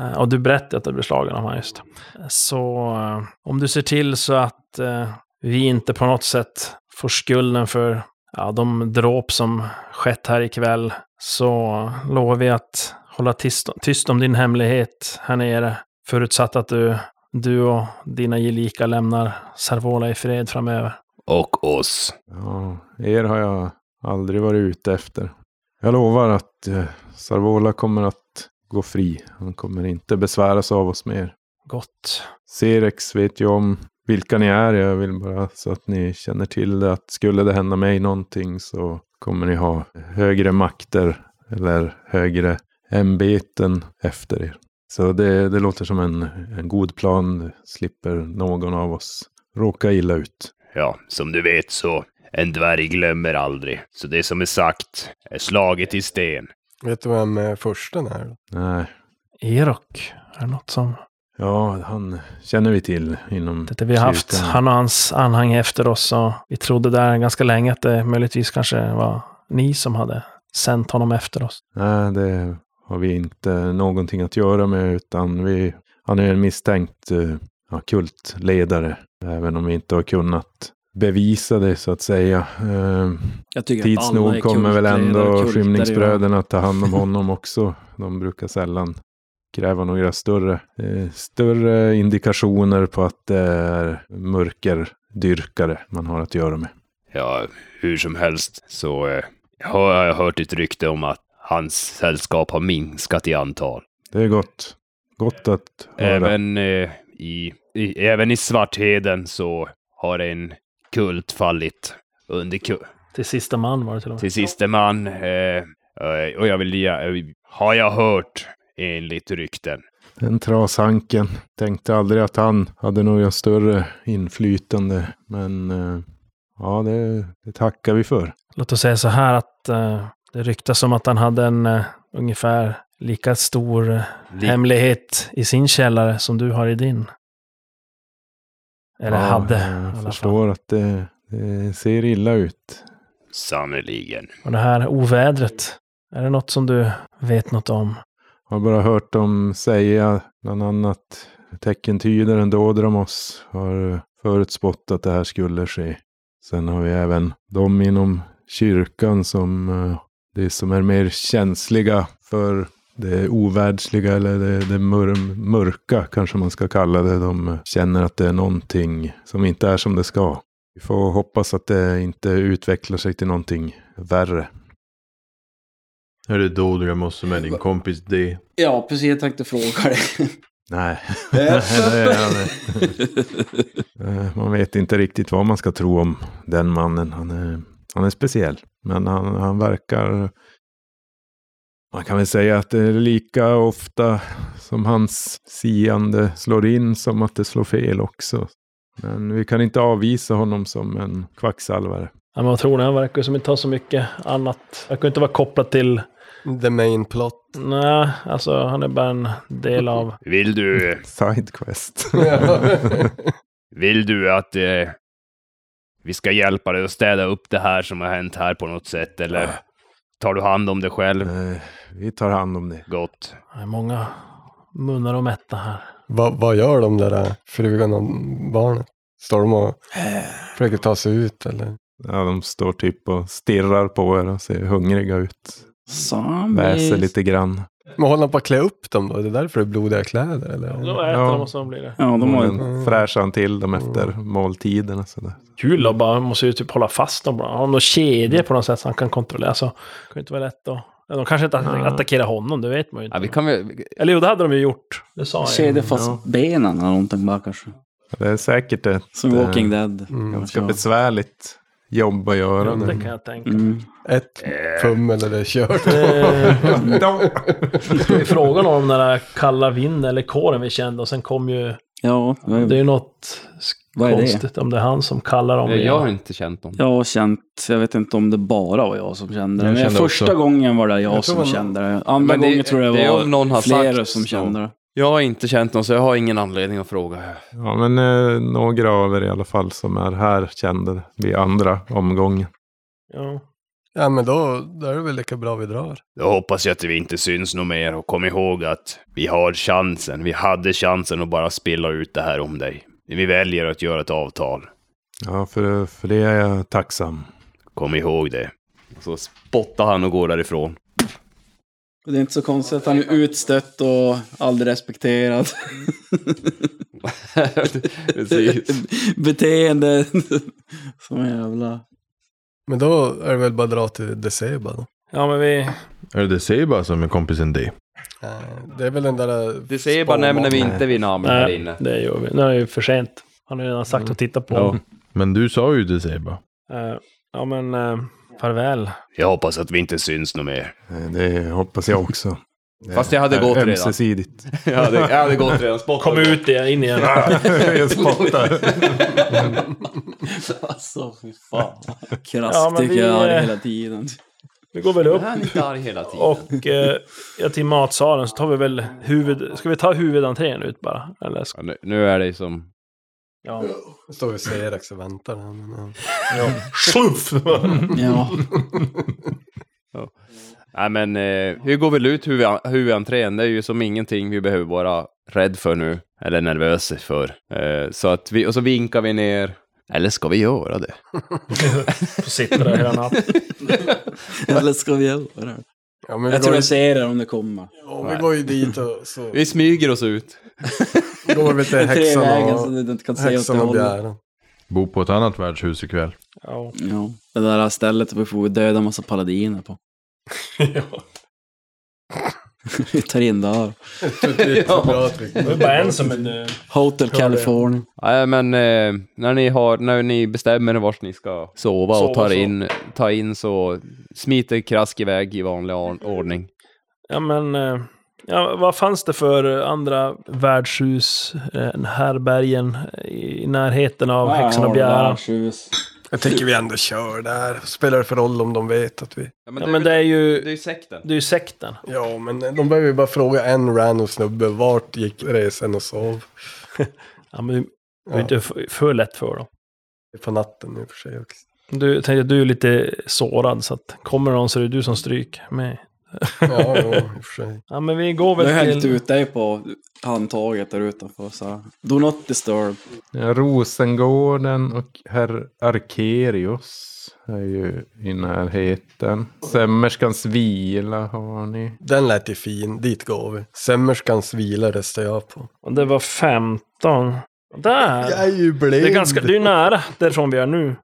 Speaker 4: eh, och du berättade att du blev slagen av honom just. Så eh, om du ser till så att eh, vi inte på något sätt får skulden för ja, de dråp som skett här ikväll så lovar vi att hålla tyst, tyst om din hemlighet här nere. Förutsatt att du, du och dina gelika lämnar Sarvola i fred framöver.
Speaker 8: Och oss.
Speaker 3: ja. Er har jag aldrig varit ute efter. Jag lovar att eh, Sarvola kommer att gå fri. Han kommer inte besväras av oss mer.
Speaker 4: Gott.
Speaker 3: Serex vet ju om vilka ni är. Jag vill bara så att ni känner till det. Att skulle det hända mig någonting så kommer ni ha högre makter eller högre ämbeten efter er. Så det, det låter som en, en god plan. Slipper någon av oss råka illa ut.
Speaker 8: Ja, som du vet så, en dvärg glömmer aldrig. Så det som är sagt är slaget i sten.
Speaker 7: Vet du vem eh, försten är? då?
Speaker 3: Nej,
Speaker 4: Erok, är det något som
Speaker 3: ja, han känner vi till inom...
Speaker 4: Det vi har haft
Speaker 3: kyrkan.
Speaker 4: han och hans anhang efter oss och vi trodde där ganska länge att det möjligtvis kanske var ni som hade sänt honom efter oss.
Speaker 3: Nej, det har vi inte någonting att göra med utan vi, han är en misstänkt eh, ja, kultledare. Även om vi inte har kunnat bevisa det så att säga. Eh,
Speaker 6: Jag tycker att
Speaker 3: Tids
Speaker 6: alla är
Speaker 3: nog kommer väl
Speaker 6: kultledare,
Speaker 3: ändå
Speaker 6: kulter, ja.
Speaker 3: skymningsbröderna att ta hand om honom också. De brukar sällan kräva några större, eh, större indikationer på att det är mörkerdyrkare man har att göra med.
Speaker 8: Ja, hur som helst så eh, har jag hört ett rykte om att hans sällskap har minskat i antal.
Speaker 3: Det är gott. Gott att höra.
Speaker 8: Även, eh, i, i, även i Svartheden så har en kult fallit under ku-
Speaker 4: Till sista man var det till och med.
Speaker 8: till siste man. Eh, eh, och jag vill ge, har jag hört enligt rykten.
Speaker 3: Den trashanken. Tänkte aldrig att han hade några större inflytande. Men eh, ja, det, det tackar vi för.
Speaker 4: Låt oss säga så här att eh, det ryktas om att han hade en eh, ungefär lika stor eh,
Speaker 8: Li-
Speaker 4: hemlighet i sin källare som du har i din. Eller
Speaker 3: ja,
Speaker 4: hade. i alla
Speaker 3: Jag
Speaker 4: fall.
Speaker 3: förstår att det, det ser illa ut.
Speaker 8: Sannerligen.
Speaker 4: Och det här ovädret, är det något som du vet något om?
Speaker 3: Har bara hört dem säga bland annat tecken tyder en dåder om oss. Har förutspått att det här skulle ske. Sen har vi även de inom kyrkan som eh, det som är mer känsliga för det ovärldsliga eller det, det mör, mörka kanske man ska kalla det. De känner att det är någonting som inte är som det ska. Vi får hoppas att det inte utvecklar sig till någonting värre.
Speaker 5: Är det då du måste med din kompis D?
Speaker 6: Ja, precis. Jag tänkte fråga dig.
Speaker 3: Nej. Nej, det är han inte. Eh, Man vet inte riktigt vad man ska tro om den mannen. Han är, han är speciell. Men han, han verkar... Man kan väl säga att det är lika ofta som hans siande slår in som att det slår fel också. Men vi kan inte avvisa honom som en kvacksalvare.
Speaker 4: Ja, men vad tror ni? Han verkar ju som inte ha så mycket annat. Verkar inte vara kopplad till...
Speaker 7: The main plot.
Speaker 4: Nej, alltså han är bara en del av...
Speaker 8: Vill du, eh,
Speaker 3: Sidequest.
Speaker 8: vill du att eh, vi ska hjälpa dig att städa upp det här som har hänt här på något sätt eller
Speaker 2: Ah.
Speaker 8: tar du hand om det själv?
Speaker 3: Eh, vi tar hand om det.
Speaker 8: Gott.
Speaker 4: Det är många munnar att mätta här.
Speaker 7: Va, vad gör de där eh, frugan och barnen? Står de och försöker ta sig ut eller?
Speaker 3: Ja, de står typ och stirrar på er och ser hungriga ut.
Speaker 6: Mm.
Speaker 3: Väser
Speaker 6: Zombies.
Speaker 3: lite grann.
Speaker 7: Men håller de på att klä upp dem då? Är det därför det är blodiga kläder eller?
Speaker 4: äter
Speaker 3: Ja.
Speaker 4: de och så blir det.
Speaker 6: Ja, de har ju...
Speaker 7: Mm.
Speaker 3: Sen fräschar han till dem efter måltiderna. Sådär.
Speaker 4: Kul att bara, måste ju typ hålla fast dem. bara. Har de några kedjor på något sätt som han kan kontrollera? Alltså, det kan ju inte vara lätt att... Ja, De kanske inte att- attackerar honom, det vet man ju inte.
Speaker 2: Ja, vi kan väl...
Speaker 4: Eller jo, det hade de ju gjort. Det sa jag.
Speaker 6: Kedja fast benen eller någonting bara kanske.
Speaker 3: Det är säkert ett
Speaker 6: Som
Speaker 3: eh,
Speaker 6: Walking Dead.
Speaker 7: Mm.
Speaker 3: ganska besvärligt jobb att göra
Speaker 4: Det
Speaker 3: nu.
Speaker 4: kan jag tänka.
Speaker 6: Mm.
Speaker 7: Ett fummel eller kört.
Speaker 4: Eh,
Speaker 3: Då.
Speaker 4: Det är Frågan om den där kalla vinden eller kåren vi kände och sen kom ju...
Speaker 6: Ja,
Speaker 4: Det är ju något s-
Speaker 6: Vad är det?
Speaker 4: konstigt om det är han som kallar dem.
Speaker 2: Jag,
Speaker 4: igen.
Speaker 2: jag har inte känt någon.
Speaker 6: jag har känt, jag vet inte om det bara var jag som kände det.
Speaker 5: Jag
Speaker 6: Men
Speaker 5: kände
Speaker 6: första
Speaker 5: också.
Speaker 6: gången var det jag,
Speaker 7: Jag tror
Speaker 6: som
Speaker 7: man-
Speaker 6: kände det. Andra
Speaker 2: Men det-
Speaker 6: gången tror jag
Speaker 2: det är
Speaker 6: var
Speaker 2: om någon har
Speaker 6: flera
Speaker 2: sagt
Speaker 6: som
Speaker 2: så.
Speaker 6: kände det.
Speaker 2: Jag har inte känt någon, så jag har ingen anledning att fråga.
Speaker 3: Ja, men eh, några av er i alla fall som är här kände det vid andra omgången.
Speaker 4: Ja.
Speaker 7: Ja men då, då är det väl lika bra vi drar.
Speaker 8: Då hoppas jag att vi inte syns något mer och kom ihåg att vi har chansen. Vi hade chansen att bara spilla ut det här om dig. Vi väljer att göra ett avtal.
Speaker 3: Ja, för, för det är jag tacksam.
Speaker 8: Kom ihåg det.
Speaker 2: Så spottar han och går därifrån.
Speaker 6: Det är inte så konstigt att han är utstött och aldrig respekterad.
Speaker 2: Precis.
Speaker 6: Beteende. Som jävla...
Speaker 7: Men då är det väl bara att dra till Deceba då.
Speaker 4: ja, men vi...
Speaker 5: Är det det Seba som är kompisen D?
Speaker 7: Eh, Det är väl den där...
Speaker 2: Det säger bara nämner vi inte vid namn här
Speaker 4: Nej,
Speaker 2: inne.
Speaker 4: det gör vi. Nu är det ju för sent. Han har ju redan sagt att titta på.
Speaker 2: Ja.
Speaker 5: Men du sa ju det Seba.
Speaker 4: Eh, ja, men eh, farväl.
Speaker 8: Jag hoppas att vi inte syns något mer.
Speaker 3: Eh, Det hoppas jag också. Det
Speaker 2: Fast jag hade
Speaker 3: är
Speaker 2: gått redan.
Speaker 3: ömsesidigt.
Speaker 2: Jag hade, jag hade gått redan. Spottat.
Speaker 4: Kom ut igen, in igen.
Speaker 3: jag spottar.
Speaker 6: Alltså fy fan. Krasst
Speaker 4: Ja, men
Speaker 6: tycker
Speaker 4: vi,
Speaker 6: jag är
Speaker 4: eh,
Speaker 6: hela tiden.
Speaker 4: Vi går väl
Speaker 2: Men
Speaker 4: upp
Speaker 2: Han är inte arg hela tiden.
Speaker 4: och eh, ja, till matsalen så tar vi väl huvud... Ska vi ta huvudentrén ut bara? Eller ska...
Speaker 2: Ja, nu, nu är det som...
Speaker 4: Ja.
Speaker 7: Står vi och ser också och väntar. där, Men, eh. ja.
Speaker 6: Ja.
Speaker 2: Nej men, eh, hur går väl ut huvud- huvudentrén? Det är ju som ingenting vi behöver vara rädd för nu. Eller nervösa för. Eh, så att vi, och så vinkar vi ner. Eller ska vi göra det?
Speaker 4: Får sitta där hela natten.
Speaker 6: Eller ska vi göra det?
Speaker 7: ja men vi, går,
Speaker 6: Jag tror
Speaker 7: ju-
Speaker 6: jag ser det om det kommer.
Speaker 7: ja, vi går ju dit och så
Speaker 2: Vi smyger oss ut.
Speaker 7: går vi till
Speaker 6: Tre vägen så
Speaker 7: häxan och,
Speaker 6: du inte kan se åt det
Speaker 7: häxan och
Speaker 6: hållet.
Speaker 7: bjäran.
Speaker 5: Bor på ett annat värdshus ikväll.
Speaker 4: Ja.
Speaker 6: Ja. Det där stället vi får döda en massa paladiner på. Vi tar in där.
Speaker 7: Det är så bra att vi-
Speaker 4: Det är bara en eh, som är död.
Speaker 6: Hotel
Speaker 4: det.
Speaker 6: California.
Speaker 2: Nej men, eh, när, ni har, när ni bestämmer vart ni ska sova,
Speaker 4: Sova,
Speaker 2: och tar
Speaker 4: så.
Speaker 2: in, tar in så smiter Krask iväg i vanlig or- ordning.
Speaker 4: Ja, men eh, ja, vad fanns det för andra värdshus, eh, härbergen i närheten av häxan och bjäran?
Speaker 7: Jag tänker vi ändå kör där. Spelar det för roll om de vet att vi...
Speaker 4: Ja, men det är ju,
Speaker 2: ju sekten.
Speaker 4: det är ju sekten.
Speaker 7: Ja, men de behöver ju bara fråga en random snubbe. Vart gick resan och sov?
Speaker 4: Ja, men det är
Speaker 7: Ja,
Speaker 4: inte för, för lätt för dem.
Speaker 7: det är på natten nu för sig också.
Speaker 4: Du, jag tänkte att du är lite sårad, så att kommer någon så är det du som stryker med.
Speaker 7: Ja, jo, i och för sig.
Speaker 4: Ja, men vi går
Speaker 6: Jag har
Speaker 4: väl
Speaker 6: hällt
Speaker 4: till...
Speaker 6: ut dig på handtaget där utanför så här. Do not disturb.
Speaker 3: Ja, Rosengården och herr Arkerius är ju i närheten. Sömmerskans vila har ni.
Speaker 7: Den lät ju fin. Dit går vi. Sömmerskans vila röstar jag på.
Speaker 4: Och Det var 15. Där!
Speaker 7: Jag är ju blind.
Speaker 4: Det är ganska, det är nära därifrån vi är nu.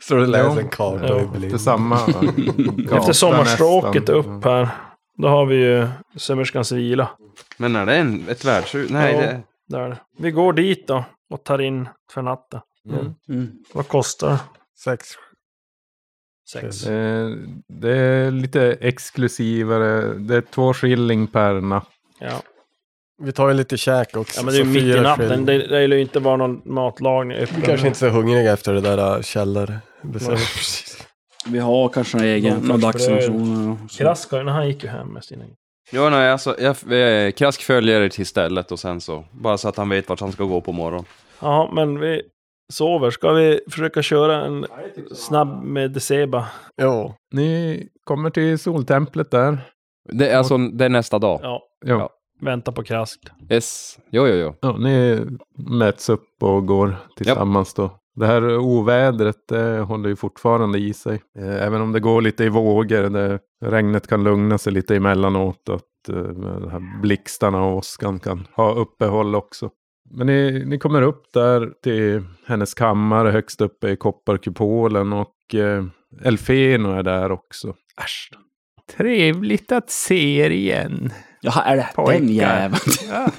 Speaker 7: Står och läser
Speaker 3: Ja.
Speaker 7: en karta
Speaker 4: Ja.
Speaker 7: och är blind.
Speaker 3: Efter samma gata
Speaker 4: Efter sommarstråket
Speaker 3: nästan.
Speaker 4: upp här, då har vi ju Sömmerskans vila.
Speaker 2: Men är det en, ett värdshus? Nej,
Speaker 4: Ja.
Speaker 2: det...
Speaker 4: Där. Vi går dit då och tar in för natten.
Speaker 6: Mm.
Speaker 4: Vad kostar det?
Speaker 7: Sex.
Speaker 4: Sex.
Speaker 3: Eh, Det är lite exklusivare. Det är två skilling per natt.
Speaker 4: Ja.
Speaker 7: Vi tar ju lite käk också.
Speaker 4: ja, men det är
Speaker 7: så
Speaker 4: ju mitt i
Speaker 7: fyra
Speaker 4: natten.
Speaker 7: skilling.
Speaker 4: Det, det är ju inte bara någon matlagning
Speaker 7: Vi
Speaker 4: öppen.
Speaker 7: kanske inte är så hungriga efter det där äh,
Speaker 4: Nej,
Speaker 7: källarbesöket.
Speaker 6: Vi har kanske några egen,
Speaker 7: Någon
Speaker 6: några
Speaker 7: sorts
Speaker 6: dagsrationer. och så.
Speaker 4: Kraskar, när han gick ju hem med sina
Speaker 2: Ja, nej, alltså, jag, eh, Krask följer er till stället och sen så. Bara så att han vet vart han ska gå på morgonen.
Speaker 4: Ja, men vi sover. Ska vi försöka köra en snabb med Deceba?
Speaker 7: Jo.
Speaker 3: Ni kommer till soltemplet där.
Speaker 2: Det, är alltså, det är nästa dag.
Speaker 4: Ja,
Speaker 3: Ja.
Speaker 4: vänta på Krask.
Speaker 2: Yes. Jo, jo, jo.
Speaker 3: Ja, ni möts upp och går tillsammans då. Det här ovädret det håller ju fortfarande i sig. Eh, Även om det går lite i vågor. Det, regnet kan lugna sig lite emellanåt. och Att eh, de här blixtarna och åskan kan ha uppehåll också. Men ni, ni kommer upp där till hennes kammare högst uppe i kopparkupolen. Och eh, Elfeno är där också. Äsch. Trevligt att se er igen.
Speaker 6: Jaha, är det
Speaker 3: Pojkar.
Speaker 6: den jäveln?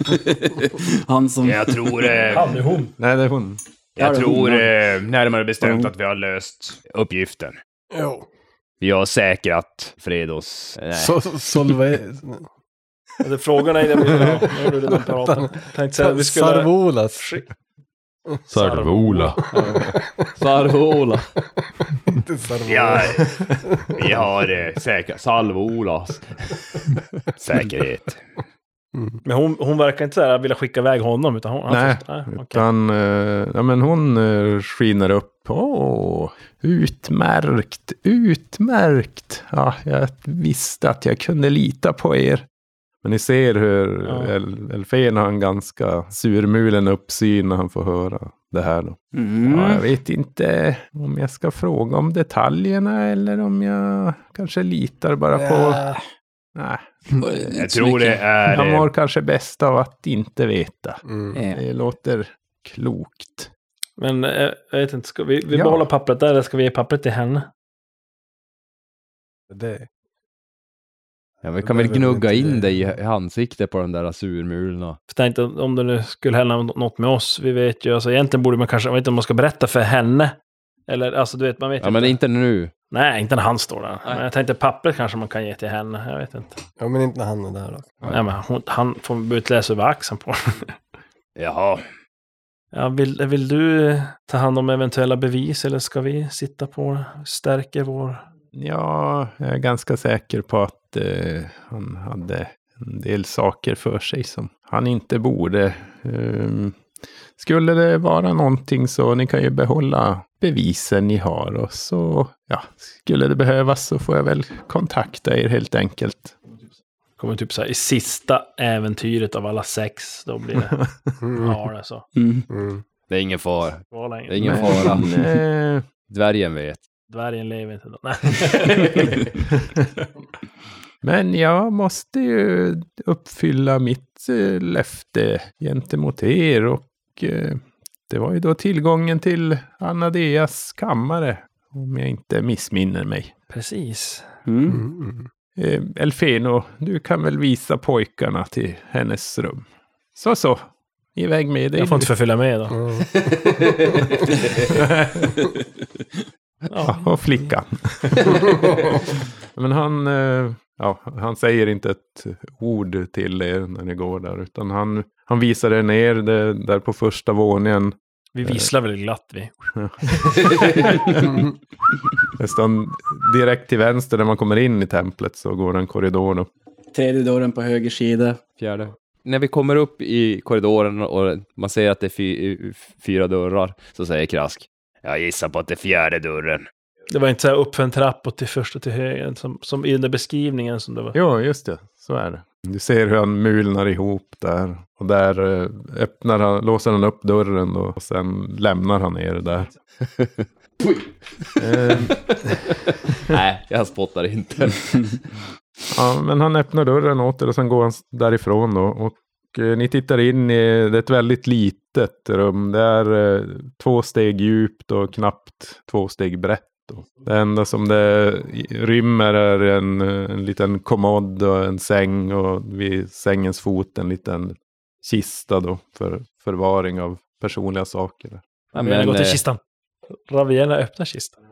Speaker 6: Han som...
Speaker 8: Jag tror det.
Speaker 4: Han är hon.
Speaker 3: Nej, det är hon.
Speaker 6: Ja,
Speaker 8: Jag
Speaker 6: det
Speaker 8: tror
Speaker 6: honar.
Speaker 8: eh, närmare bestämt
Speaker 6: Mm.
Speaker 8: att vi har löst uppgiften.
Speaker 7: Jo.
Speaker 8: Vi har säkrat Fredos... Nej.
Speaker 7: Så, solve...
Speaker 4: Du frågade dig när vi nu gjorde du den piraten. Tänkte säga att vi skulle...
Speaker 7: Sarvolas.
Speaker 5: Sarvola.
Speaker 2: Sarvola.
Speaker 7: Inte Sarvola.
Speaker 8: Ja, vi har eh, säkrat Salvolas säkerhet.
Speaker 7: Mm,
Speaker 4: Men hon, hon verkar inte så här vilja skicka iväg honom. Utan hon, han
Speaker 3: Nej,
Speaker 4: först- nej, okej.
Speaker 3: Utan, eh, ja, men hon eh, skiner upp. Åh, utmärkt, utmärkt. Ja, jag visste att jag kunde lita på er. Men ni ser hur
Speaker 4: Ja.
Speaker 3: El- Elfen har en ganska surmulen uppsyn när han får höra det här. Då. Ja, jag
Speaker 6: Mm.
Speaker 3: vet inte om jag ska fråga om detaljerna eller om jag kanske litar bara på... Nej,
Speaker 6: Mm.
Speaker 8: Jag tror det är...
Speaker 3: jag
Speaker 8: eh,
Speaker 3: mår kanske bäst av att inte veta.
Speaker 7: Mm.
Speaker 6: Ja.
Speaker 3: Det låter klokt.
Speaker 4: Men eh, jag vet inte, ska vi, vi
Speaker 3: Ja.
Speaker 4: behåller pappret där eller ska vi ge pappret till henne?
Speaker 7: Det.
Speaker 2: Ja, vi kan väl
Speaker 7: behöver
Speaker 2: gnugga
Speaker 7: inte-
Speaker 2: in dig i ansiktet på den där surmulna.
Speaker 4: För tänkte om det nu skulle hända något med oss. Vi vet ju, alltså egentligen borde man kanske, jag vet inte om man ska berätta för henne. Eller alltså du vet, man vet
Speaker 2: Ja, men inte nu.
Speaker 4: Nej, inte när han står där. Men jag tänkte pappret kanske man kan ge till henne. Jag vet inte.
Speaker 7: Ja, men inte när han är där då.
Speaker 4: Nej, men hon, han får utläsa över axeln på
Speaker 8: Jaha.
Speaker 4: ja, vill, vill du ta hand om eventuella bevis eller ska vi sitta på det? Stärker vår...
Speaker 3: Ja, jag är ganska säker på att eh, han hade en del saker för sig som han inte borde. Ehm, skulle det vara någonting så ni kan ju behålla bevisen ni har och så, ja, skulle det behövas så får jag väl kontakta er helt enkelt.
Speaker 4: Kommer typ så här i sista äventyret av alla sex. Då blir det...
Speaker 7: Mm.
Speaker 4: Ja, det är så.
Speaker 6: Mm.
Speaker 7: Mm.
Speaker 2: Det är ingen fara.
Speaker 4: Det var länge.
Speaker 2: Det är ingen
Speaker 3: Men,
Speaker 2: fara.
Speaker 3: eh,
Speaker 2: Dvärgen vet.
Speaker 4: Dvärgen lever inte då. Nej.
Speaker 3: Men jag måste ju uppfylla mitt eh, löfte gentemot er och eh, det var ju då tillgången till Anadeas kammare, om jag inte missminner mig.
Speaker 4: Precis.
Speaker 6: Mm.
Speaker 7: Mm.
Speaker 3: Eh, Elfeno, du kan väl visa pojkarna till hennes rum. Så, så. Iväg med dig.
Speaker 4: Jag får inte
Speaker 3: nu.
Speaker 4: förfölja med då.
Speaker 7: Mm.
Speaker 3: Ja, och flickan. Men han, eh, ja, han säger inte ett ord till er när ni går där, utan han, han visar er ner det, där på första våningen.
Speaker 4: Vi visslar väl glatt vi.
Speaker 3: Nästan direkt till vänster när man kommer in i templet så går det en korridor. Då.
Speaker 6: Tredje dörren på höger sida.
Speaker 2: Fjärde. När vi kommer upp i korridoren och man ser att det är fy, eh, fyra dörrar så säger Krask.
Speaker 8: Jag gissar på att det är fjärde dörren.
Speaker 4: Det var inte så här upp för en trappa och till första till höger. Som, som i den där beskrivningen som det var.
Speaker 3: Jo, just det. Så är det. Du ser hur han mulnar ihop där. Och där eh, öppnar han, låser han upp dörren då, och sen lämnar han er där. Eh,
Speaker 2: Nej, jag spottar inte.
Speaker 3: Ja, men han öppnar dörren åt er och sen går han s- därifrån då. Och eh, ni tittar in i, det är ett väldigt litet rum. Det är eh, två steg djupt och knappt två steg brett. Då. Det enda som det i- rymmer är en, eh, en liten kommod och en säng och vid sängens fot en liten kista då för förvaring av personliga saker.
Speaker 2: Ja,
Speaker 4: vi har
Speaker 2: men,
Speaker 4: gått
Speaker 2: eh,
Speaker 4: till kistan. Raviera öppnar kistan.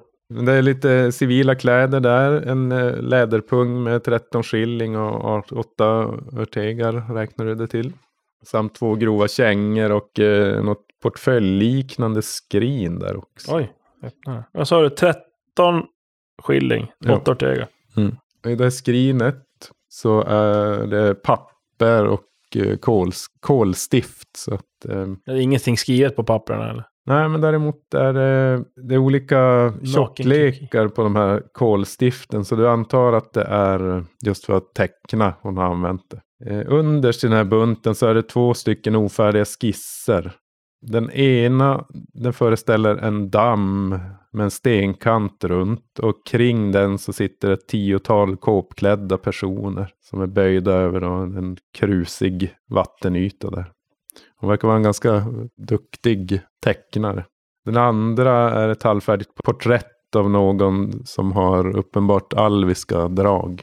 Speaker 3: Det är lite civila kläder där. En eh, läderpung med 13 skilling och 8 örtegar räknar du det till. Samt två grova kängor och eh, något portföljliknande skrin där också.
Speaker 4: Oj, öppnar. Vad sa du? 13 skilling.
Speaker 3: Ja.
Speaker 4: 8 Ortega.
Speaker 3: Och I det här skrinet så är det papper och eh, kols, kolstift. Så att, eh,
Speaker 4: Det är ingenting skrivet på papperna eller?
Speaker 3: nej, men däremot är det, det är olika tjocklekar på de här kolstiften. Så du antar att det är just för att teckna hon har använt det. Eh, underst i den här bunten så är det två stycken ofärdiga skisser. Den ena den föreställer en damm med en stenkant runt och kring den så sitter ett tiotal kåpklädda personer som är böjda över då en krusig vattenyta där. Hon verkar vara en ganska duktig tecknare. Den andra är ett halvfärdigt porträtt av någon som har uppenbart alviska drag.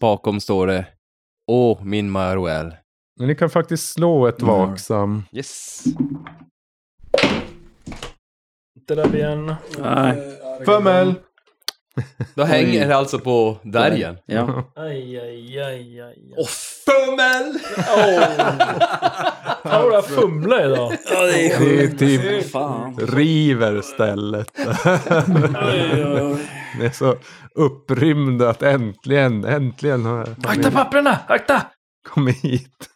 Speaker 2: bakom står det. Åh, min Maruel.
Speaker 3: Men ni kan faktiskt slå ett
Speaker 6: Mm.
Speaker 3: vaksam.
Speaker 2: Yes.
Speaker 4: sitter där igen.
Speaker 6: Nej.
Speaker 5: Fummel!
Speaker 2: Då hänger det alltså på därgen.
Speaker 6: Ja.
Speaker 4: Aj, aj, aj, aj.
Speaker 2: Åh, fummel!
Speaker 4: Fan vad jag fumlar idag.
Speaker 6: ja, det är
Speaker 3: Det är typ
Speaker 6: sjukt. Fan.
Speaker 3: river stället.
Speaker 6: Oj, oj, oj.
Speaker 3: Ni är så upprymda att äntligen, äntligen har
Speaker 4: Akta
Speaker 3: jag
Speaker 4: papperna! Akta!
Speaker 3: kommit hit.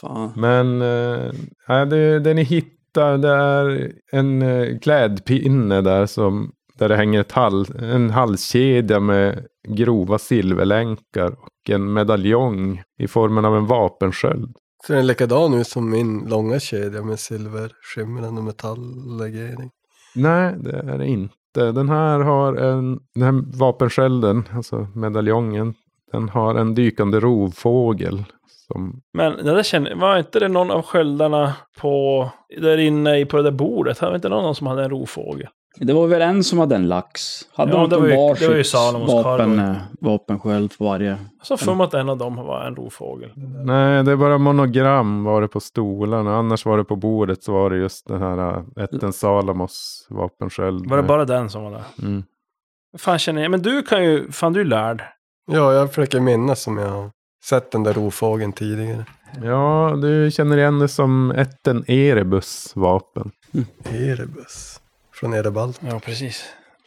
Speaker 6: Fan.
Speaker 3: Men eh, ja, det, det ni hittar det är en eh, klädpinne där som där det hänger ett hal, en halskedja med grova silverlänkar och en medaljong i formen av en vapensköld.
Speaker 7: Ser den likadan ut som min långa kedja med silverskimrande metalllegering?
Speaker 3: Nej, det är det inte. Den här har en, den här vapenskölden, alltså medaljongen, den har en dykande rovfågel som
Speaker 4: Men det där känner, var inte det någon av sköldarna på, där inne i- på det där bordet? Här var inte någon som hade en rovfågel?
Speaker 6: Det var väl en som hade en lax? Hade
Speaker 4: Ja,
Speaker 6: de inte
Speaker 4: det var ju-
Speaker 6: varsitt
Speaker 4: det var ju Salomons
Speaker 6: vapen,
Speaker 4: karl.
Speaker 6: eh, vapensköld på varje?
Speaker 4: Så för mig att en av dem var en rovfågel.
Speaker 3: Nej, det är bara monogram var det på stolarna. Annars var det på bordet så var det just den här äh, ätten Salamos vapensköld.
Speaker 4: Var det bara den som var där?
Speaker 3: Mm.
Speaker 4: Fan känner jag, men du kan ju, fan du är lärd.
Speaker 7: Ja, jag försöker minnas som jag har sett den där rovfågeln tidigare.
Speaker 3: Ja, du känner igen det som ätten Erebus vapen.
Speaker 7: Erebus. Från Erebalt.
Speaker 4: Ja, precis.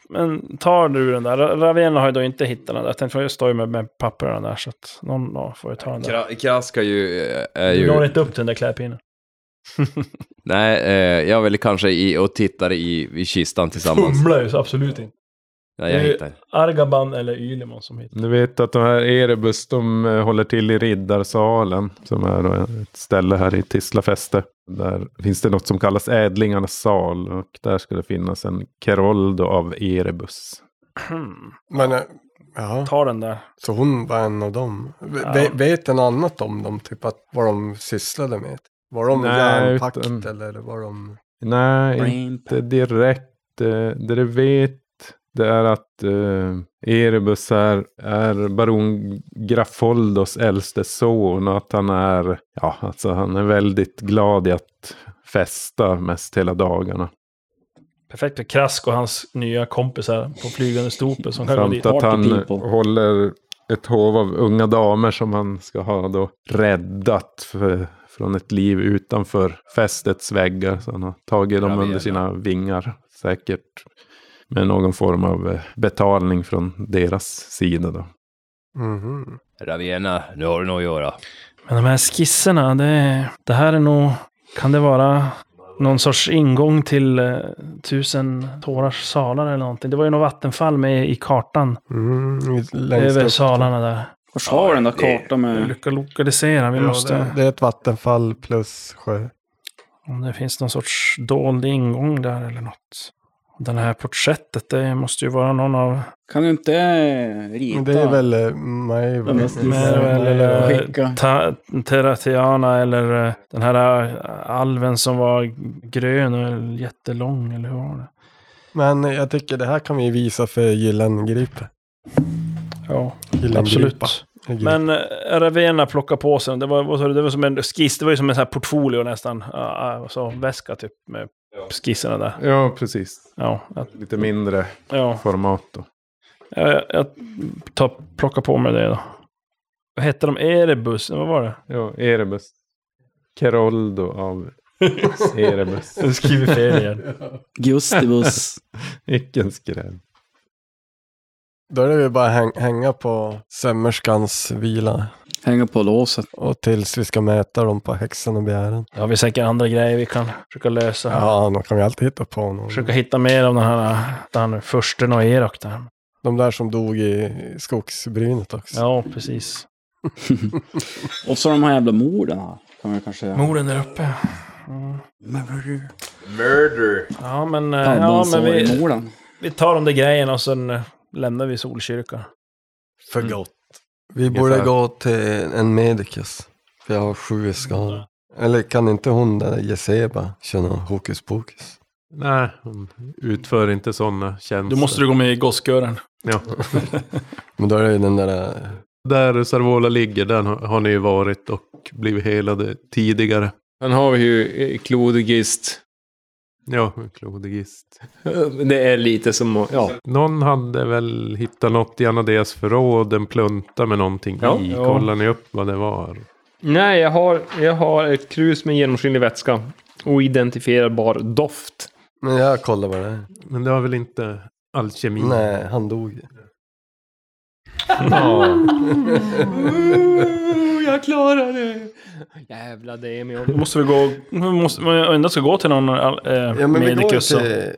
Speaker 4: Men tar du den där, Ravena har ju då inte hittat den där. Jag tänkte, för jag står ju med, med papperna där så att någon ja, får ju ta den där.
Speaker 2: Kra- Kraska ju, eh, är
Speaker 4: Du
Speaker 2: ju...
Speaker 4: når inte upp till den där klädpinnen.
Speaker 2: Nej, eh, jag är väl kanske i och tittar i, i kistan tillsammans.
Speaker 4: Fumlar ju så absolut inte.
Speaker 2: Nej, jag
Speaker 4: Det är-
Speaker 2: hittar.
Speaker 4: Argaban eller Ylimon som hittar.
Speaker 3: Du vet att de här Erebus, de eh, håller till i Riddarsalen. Som är då ett ställe här i Tislafäste. Där finns det något som kallas Ädlingarnas sal. Och där ska det finnas en keroldo av Erebus.
Speaker 4: Hmm.
Speaker 7: Men, eh, ja.
Speaker 4: Ta den där.
Speaker 7: Så hon var en av dem. V-
Speaker 4: Ja.
Speaker 7: ve- Vet en annat om dem? Typ att vad de sysslade med? Var de
Speaker 3: Nej,
Speaker 7: järnpakt
Speaker 3: utan-
Speaker 7: eller var de...
Speaker 3: Nej,
Speaker 6: Brain
Speaker 3: inte direkt. Eh, Det du vet det är att eh, Erebus är, är baron Grafoldos äldste son och att han är, ja, alltså han är väldigt glad i att festa mest hela dagarna.
Speaker 4: Perfekt för Krask och hans nya kompisar på flygande stolpe som kan gå dit.
Speaker 3: Samt att
Speaker 6: party
Speaker 3: han
Speaker 6: people.
Speaker 3: håller ett hov av unga damer som han ska ha då räddat för, från ett liv utanför fästets väggar. Så han har tagit dem
Speaker 2: Ravena.
Speaker 3: under sina vingar säkert. Med någon form av eh, betalning från deras sida då.
Speaker 7: Mhm.
Speaker 2: Ravena, nu har du nog att göra.
Speaker 4: Men de här skisserna, det, det här är nog... Kan det vara någon sorts ingång till eh, tusen tårars salar eller någonting? Det var ju något vattenfall med i kartan.
Speaker 7: Mm, längst
Speaker 4: Över
Speaker 7: upp.
Speaker 4: salarna där.
Speaker 6: Vars har den där kartan med...
Speaker 4: Lycka lokalisera, vi
Speaker 7: Eh, Ja, det,
Speaker 4: måste...
Speaker 7: det är ett vattenfall plus sjö.
Speaker 4: Om det finns någon sorts dold ingång där eller något. Den här porträttet, det måste ju vara någon av...
Speaker 6: Kan du inte eh, rita?
Speaker 7: Men det är väl eh, Maj-
Speaker 6: Den måste vi
Speaker 7: Maj-
Speaker 6: se.
Speaker 4: Mervel eller eh,
Speaker 6: Skicka.
Speaker 4: Ta- Terratiana eller eh, den här eh, alven som var grön och jättelång, eller hur var det?
Speaker 7: Men jag tycker det här kan vi visa för Gyllengripe.
Speaker 4: Ja,
Speaker 7: Gyllengripa.
Speaker 4: absolut.
Speaker 7: Gripa.
Speaker 4: Men eh, Ravena plockar på sig den. Det var, vad sa du, det var som en skiss, det var ju som en sån här portfolio nästan. Ja, ja, så väska typ med skisserna där.
Speaker 3: Ja, precis.
Speaker 4: Ja, ja,
Speaker 3: Lite mindre
Speaker 4: ja.
Speaker 3: format då.
Speaker 4: Jag, jag tar, plockar på mig det då. Vad hette de? Erebus? Vad var det?
Speaker 3: Ja, Erebus. Keroldo av Erebus.
Speaker 4: Du skriver fel igen.
Speaker 6: Gustibus.
Speaker 3: Vilken skräll.
Speaker 7: Då är det väl bara häng, hänga på sömmerskans vila.
Speaker 6: Hänga på låset.
Speaker 7: Och tills vi ska mäta dem på häxan och begären.
Speaker 4: Då har vi säkert andra grejer vi kan försöka lösa.
Speaker 7: Ja, de kan vi alltid hitta på någon.
Speaker 4: Försöka hitta mer av den här, den här försten och Erak där.
Speaker 7: De där som dog i skogsbrynet också.
Speaker 4: Ja, precis.
Speaker 6: Och så de här jävla morden här. Kan man kanske säga.
Speaker 4: Morden där uppe. Mm.
Speaker 2: Murder!
Speaker 4: Ja, men, eh, ja,
Speaker 6: Pandan
Speaker 4: men
Speaker 6: sår i
Speaker 4: vi,
Speaker 6: morden.
Speaker 4: vi tar de där grejerna och sen eh, lämnar vi Solkyrkan.
Speaker 7: För gott. Vi
Speaker 2: Ungefär.
Speaker 7: borde gå till en medicus. För jag har sju skador. Eller kan inte hon där Jeseba känna hokus pokus?
Speaker 3: Nej, hon utför inte sådana tjänster.
Speaker 4: gå med i Gosskören.
Speaker 3: Ja.
Speaker 7: Men då är det ju den där... eh,
Speaker 5: Där Sarvola ligger, där har har ni ju varit och blivit helade tidigare.
Speaker 2: Sen har vi ju eh, Klodigist.
Speaker 3: Ja, en klodigist. Det är lite som ja. Någon hade väl hittat något i Anadeas förråd, en plunta med någonting
Speaker 9: Ja.
Speaker 3: i.
Speaker 9: Ja.
Speaker 3: Kollar ni upp vad det var?
Speaker 9: Nej, jag har, jag har ett krus med genomskinlig vätska. Oidentifierbar doft.
Speaker 7: Men jag kollar vad det är.
Speaker 3: Men det var väl inte alkemi?
Speaker 7: Nej, han dog ju.
Speaker 3: Ja.
Speaker 9: Ooh, jag klarar det! Jävla det med
Speaker 4: Då måste vi gå... Vi måste, vi ändå ska gå till någon eh,
Speaker 7: Ja, men vi går
Speaker 4: medikus. och-
Speaker 7: till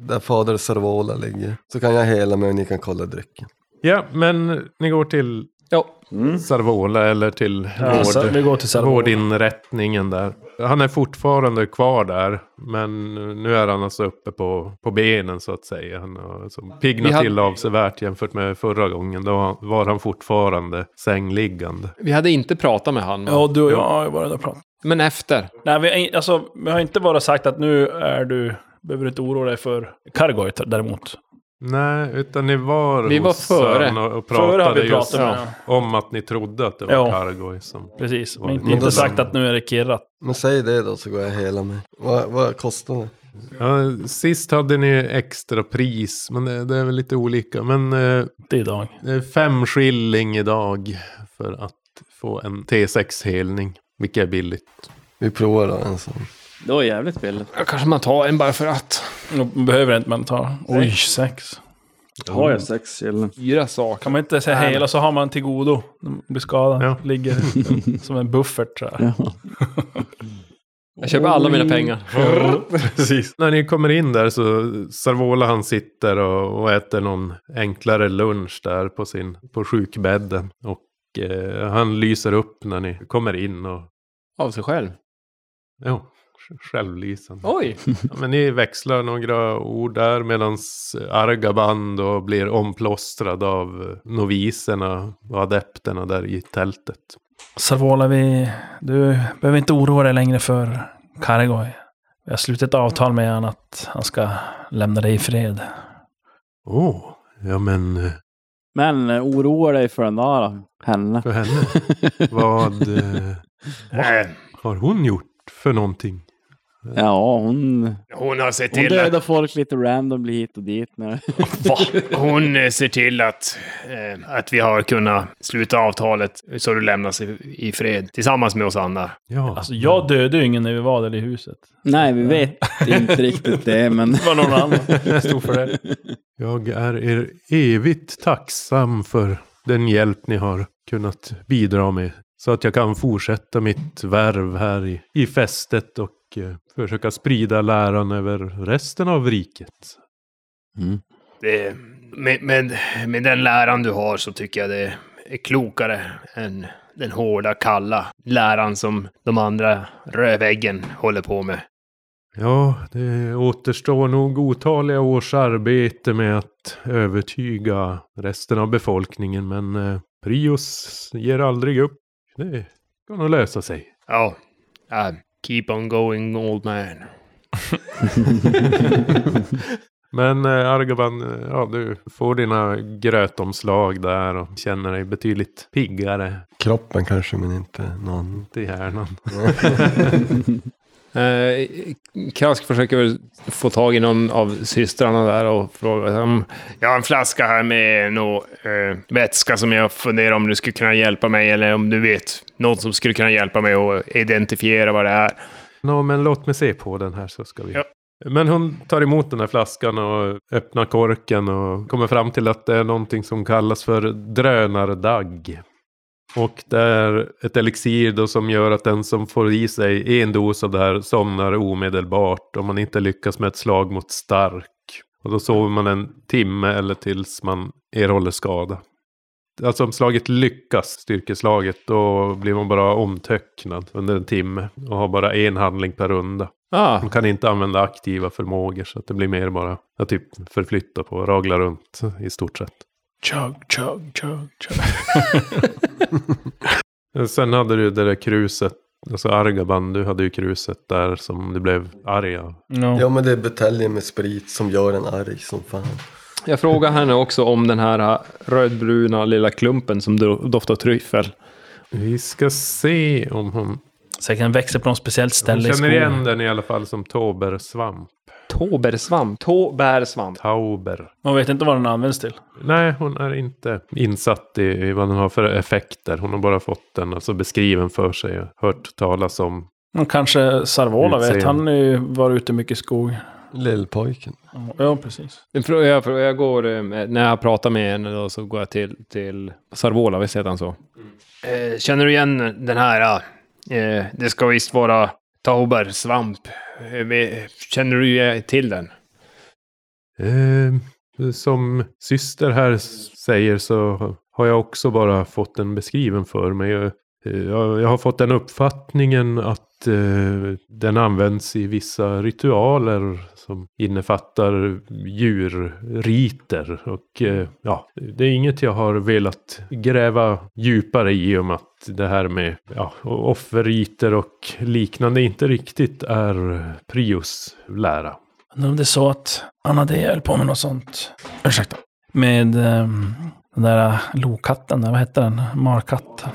Speaker 7: där fader Servola ligger. Så kan jag hela mig och ni kan kolla drycken.
Speaker 3: ja, men ni går till
Speaker 9: Ja.
Speaker 3: Sarvola eller till
Speaker 4: Ja, så
Speaker 3: vård,
Speaker 4: vi går till Sarvo.
Speaker 3: vårdinrättningen där. Han är fortfarande kvar där, men nu är han alltså uppe på, på benen så att säga. Han har alltså
Speaker 2: Vi
Speaker 3: piggnat
Speaker 2: hade-
Speaker 3: till avsevärt jämfört med förra gången. Då var han fortfarande sängliggande.
Speaker 2: Vi hade inte pratat med han, va?
Speaker 4: Ja, du och jag har ju varit där och pratat.
Speaker 2: men efter.
Speaker 4: Nej, vi, har in- alltså, vi har inte bara sagt att nu är du... Behöver du inte oroa dig för Kargoit däremot.
Speaker 3: Nej, utan ni var
Speaker 2: Vi var
Speaker 3: hos
Speaker 2: före.
Speaker 3: Sören och och pratade
Speaker 4: Före har vi pratat
Speaker 3: just
Speaker 4: med ja.
Speaker 3: om att ni trodde att det var
Speaker 4: Ja.
Speaker 3: Kargoy som...
Speaker 4: Precis. Men
Speaker 3: Men
Speaker 4: inte
Speaker 7: då-
Speaker 4: sagt att nu är det kirrat.
Speaker 7: Men säg det då så går jag hela mig. Vad, vad kostar det?
Speaker 3: Ja, sist hade ni extra pris, men det, det är väl lite olika. Men eh,
Speaker 4: Det är idag.
Speaker 3: det är fem skilling idag för att få en T6-helning, vilket är billigt.
Speaker 7: Vi provar då en sån.
Speaker 6: Det var jävligt billigt.
Speaker 9: Ja, Kanske man tar en bara för att.
Speaker 4: Man behöver inte, men ta... Oj, sex.
Speaker 6: Har jag sex killen?
Speaker 2: Fyra saker.
Speaker 4: Kan man inte säga hela så har man till godo. när man Blir skadad.
Speaker 3: Ja.
Speaker 4: Ligger som en buffert så här.
Speaker 2: Jag köper alla mina
Speaker 9: Mm.
Speaker 2: pengar.
Speaker 3: Precis. När ni kommer in där så Sarvola han sitter och, och äter någon enklare lunch där på, sin, på sjukbädden. Och eh, han lyser upp när ni kommer in och
Speaker 2: Av sig själv.
Speaker 3: ja, sj- självlysande.
Speaker 2: Oj!
Speaker 3: Ja, men ni växlar några ord där medan Argaban då blir omplåstrad av noviserna och adepterna där i tältet.
Speaker 4: Savola, vi, du behöver inte oroa dig längre för Karagoj. Vi har slutit ett avtal med honom att han ska lämna dig i fred.
Speaker 3: Åh, oh, ja men eh,
Speaker 6: Men eh, oroa dig för den där då, henne.
Speaker 3: för henne, vad eh,
Speaker 8: Eh,
Speaker 3: har hon gjort för någonting?
Speaker 6: Ja, hon,
Speaker 8: Hon har sett
Speaker 6: hon
Speaker 8: till att...
Speaker 6: dödar folk lite randomly hit och dit. Nu.
Speaker 8: Va? Hon eh, ser till att, eh, att vi har kunnat sluta avtalet så du lämnas i, i fred tillsammans med oss andra.
Speaker 3: Ja,
Speaker 4: Alltså, jag dödade ju ingen när vi var där i huset.
Speaker 6: Nej, vi vet inte riktigt det, men...
Speaker 4: Det var någon annan som stod för det.
Speaker 3: jag är er evigt tacksam för den hjälp ni har kunnat bidra med. Så att jag kan fortsätta mitt värv här i, i fästet och eh, försöka sprida läran över resten av riket.
Speaker 6: Mm.
Speaker 8: Det, med, med, med den läran du har så tycker jag det är klokare än den hårda, kalla läran som de andra rödväggen håller på med.
Speaker 3: Ja, det återstår nog otaliga års arbete med att övertyga resten av befolkningen, men eh, Prius ger aldrig upp. Det ska nog lösa sig.
Speaker 8: Ja, ah, keep on going old man.
Speaker 3: Men eh, Argoban, eh, ja, du får dina grötomslag där och känner dig betydligt piggare
Speaker 7: Kroppen kanske, men inte någon.
Speaker 3: till hjärnan.
Speaker 9: Eh, Krask försöker väl få tag i någon av systrarna där och fråga om...
Speaker 8: Jag har en flaska här med nå eh, vätska som jag funderar om du skulle kunna hjälpa mig eller om du vet någon som skulle kunna hjälpa mig att identifiera vad det är.
Speaker 3: Nå, men låt mig se på den här så ska vi...
Speaker 8: Ja.
Speaker 3: Men hon tar emot den här flaskan och öppnar korken och kommer fram till att det är någonting som kallas för drönardagg. Och det är ett elixir då som gör att den som får i sig en dos av det här somnar omedelbart om man inte lyckas med ett slag mot stark. Och då sover man en timme eller tills man erhåller skada. Alltså om slaget lyckas, styrkeslaget, då blir man bara omtöcknad under en timme och har bara en handling per runda.
Speaker 2: Ah,
Speaker 3: Man kan inte använda aktiva förmågor så att det blir mer bara att typ förflytta på, ragla runt i stort sett.
Speaker 4: Chug, chug, chug, chug.
Speaker 3: Sen hade du det där kruset, alltså Argaban, du hade ju kruset där som du blev arg av.
Speaker 4: No.
Speaker 7: Ja, men det är buteljen med sprit som gör en arg som fan.
Speaker 9: Jag frågar henne också om den här äh, rödbruna lilla klumpen som do- doftar tryffel.
Speaker 3: Vi ska se om hon
Speaker 4: Säkert den växer på något speciellt
Speaker 3: Jag
Speaker 4: ställe i
Speaker 3: känner igen
Speaker 4: skogen.
Speaker 3: den i alla fall som tobersvamp.
Speaker 9: Tåbärsvamp. Tåbärsvamp.
Speaker 3: Tauber.
Speaker 4: Man vet inte vad den används till.
Speaker 3: Nej, hon är inte insatt i i vad den har för effekter. Hon har bara fått den alltså beskriven för sig och hört talas om.
Speaker 4: Men kanske Sarvola vet.
Speaker 3: Utseende.
Speaker 4: Han har ju varit ute mycket i skog.
Speaker 7: Lillpojken.
Speaker 4: Ja, precis.
Speaker 9: En fråga- Jag, frågar- jag går, eh, när jag pratar med henne då, så går jag till, till Sarvola, visst heter han så?
Speaker 8: Eh, känner du igen den här? Eh, det ska visst vara taubersvamp. Eh, vi- känner du ju till den?
Speaker 3: Eh, som syster här s- säger så har jag också bara fått den beskriven för mig. Eh, Jag, jag har fått den uppfattningen att eh, den används i vissa ritualer som innefattar djurriter. Och eh, ja, det är inget jag har velat gräva djupare i om att det här med ja, offerriter och liknande inte riktigt är Prius lära.
Speaker 4: Undrar om det är så att Anadea höll på med något sånt. Ursäkta. Med ehm, den där lokatten, där, vad hette den? Markatten.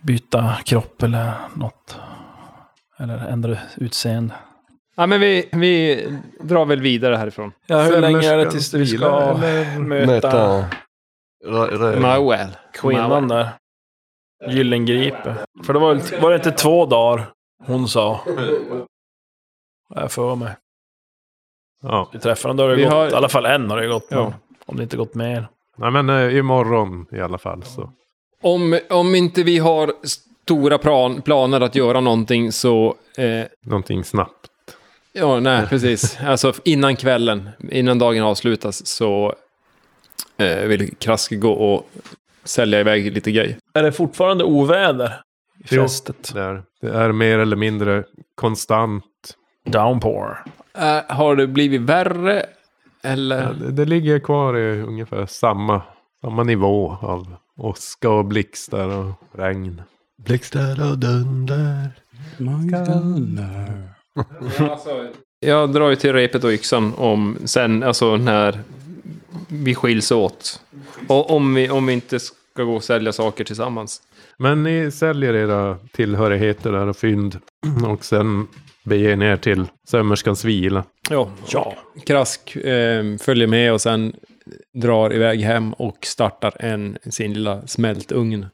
Speaker 4: Byta kropp eller något. Eller ändra utseende.
Speaker 9: Ja, men vi, vi drar väl vidare härifrån.
Speaker 4: Ja, hur länge är det
Speaker 3: Sömmerskan
Speaker 4: tills vi ska
Speaker 3: vilar, eller?
Speaker 4: möta
Speaker 9: Mowell.
Speaker 4: kvinnan där? Gyllengripe. För det var, väl- var det inte två dagar hon sa? Jag för mig.
Speaker 3: Ja.
Speaker 4: Vi träffar henne, då har det
Speaker 9: Vi
Speaker 4: gått,
Speaker 9: har-
Speaker 4: i alla fall en har det gått.
Speaker 9: Ja.
Speaker 4: Om det inte gått mer.
Speaker 3: Nej men eh, imorgon i alla fall så.
Speaker 9: Om, om inte vi har stora plan, planer att göra någonting så... Eh,
Speaker 3: Någonting snabbt.
Speaker 9: ja, nej, precis. Alltså innan kvällen, innan dagen avslutas så eh, vill Krask gå och sälja iväg lite grejer.
Speaker 4: Är det fortfarande oväder i
Speaker 3: Jo.
Speaker 4: fästet?
Speaker 3: Det är, det är mer eller mindre konstant.
Speaker 4: Downpour.
Speaker 2: Äh,
Speaker 9: Eh, har det blivit värre? Eller?
Speaker 3: Eh, Det, det ligger kvar i ungefär samma, samma nivå av åska och blixtar och regn.
Speaker 7: Blixtar och dunder.
Speaker 9: alltså, Jag drar ju till repet och yxan om sen, alltså när vi skiljs åt. Och om vi, om vi inte ska gå och sälja saker tillsammans.
Speaker 3: Men ni säljer era tillhörigheter där och fynd. Och sen beger ni er till sömmerskans vila.
Speaker 9: Ja, ja. Krask eh, följer med och sen drar iväg hem och startar en, sin lilla smältugn.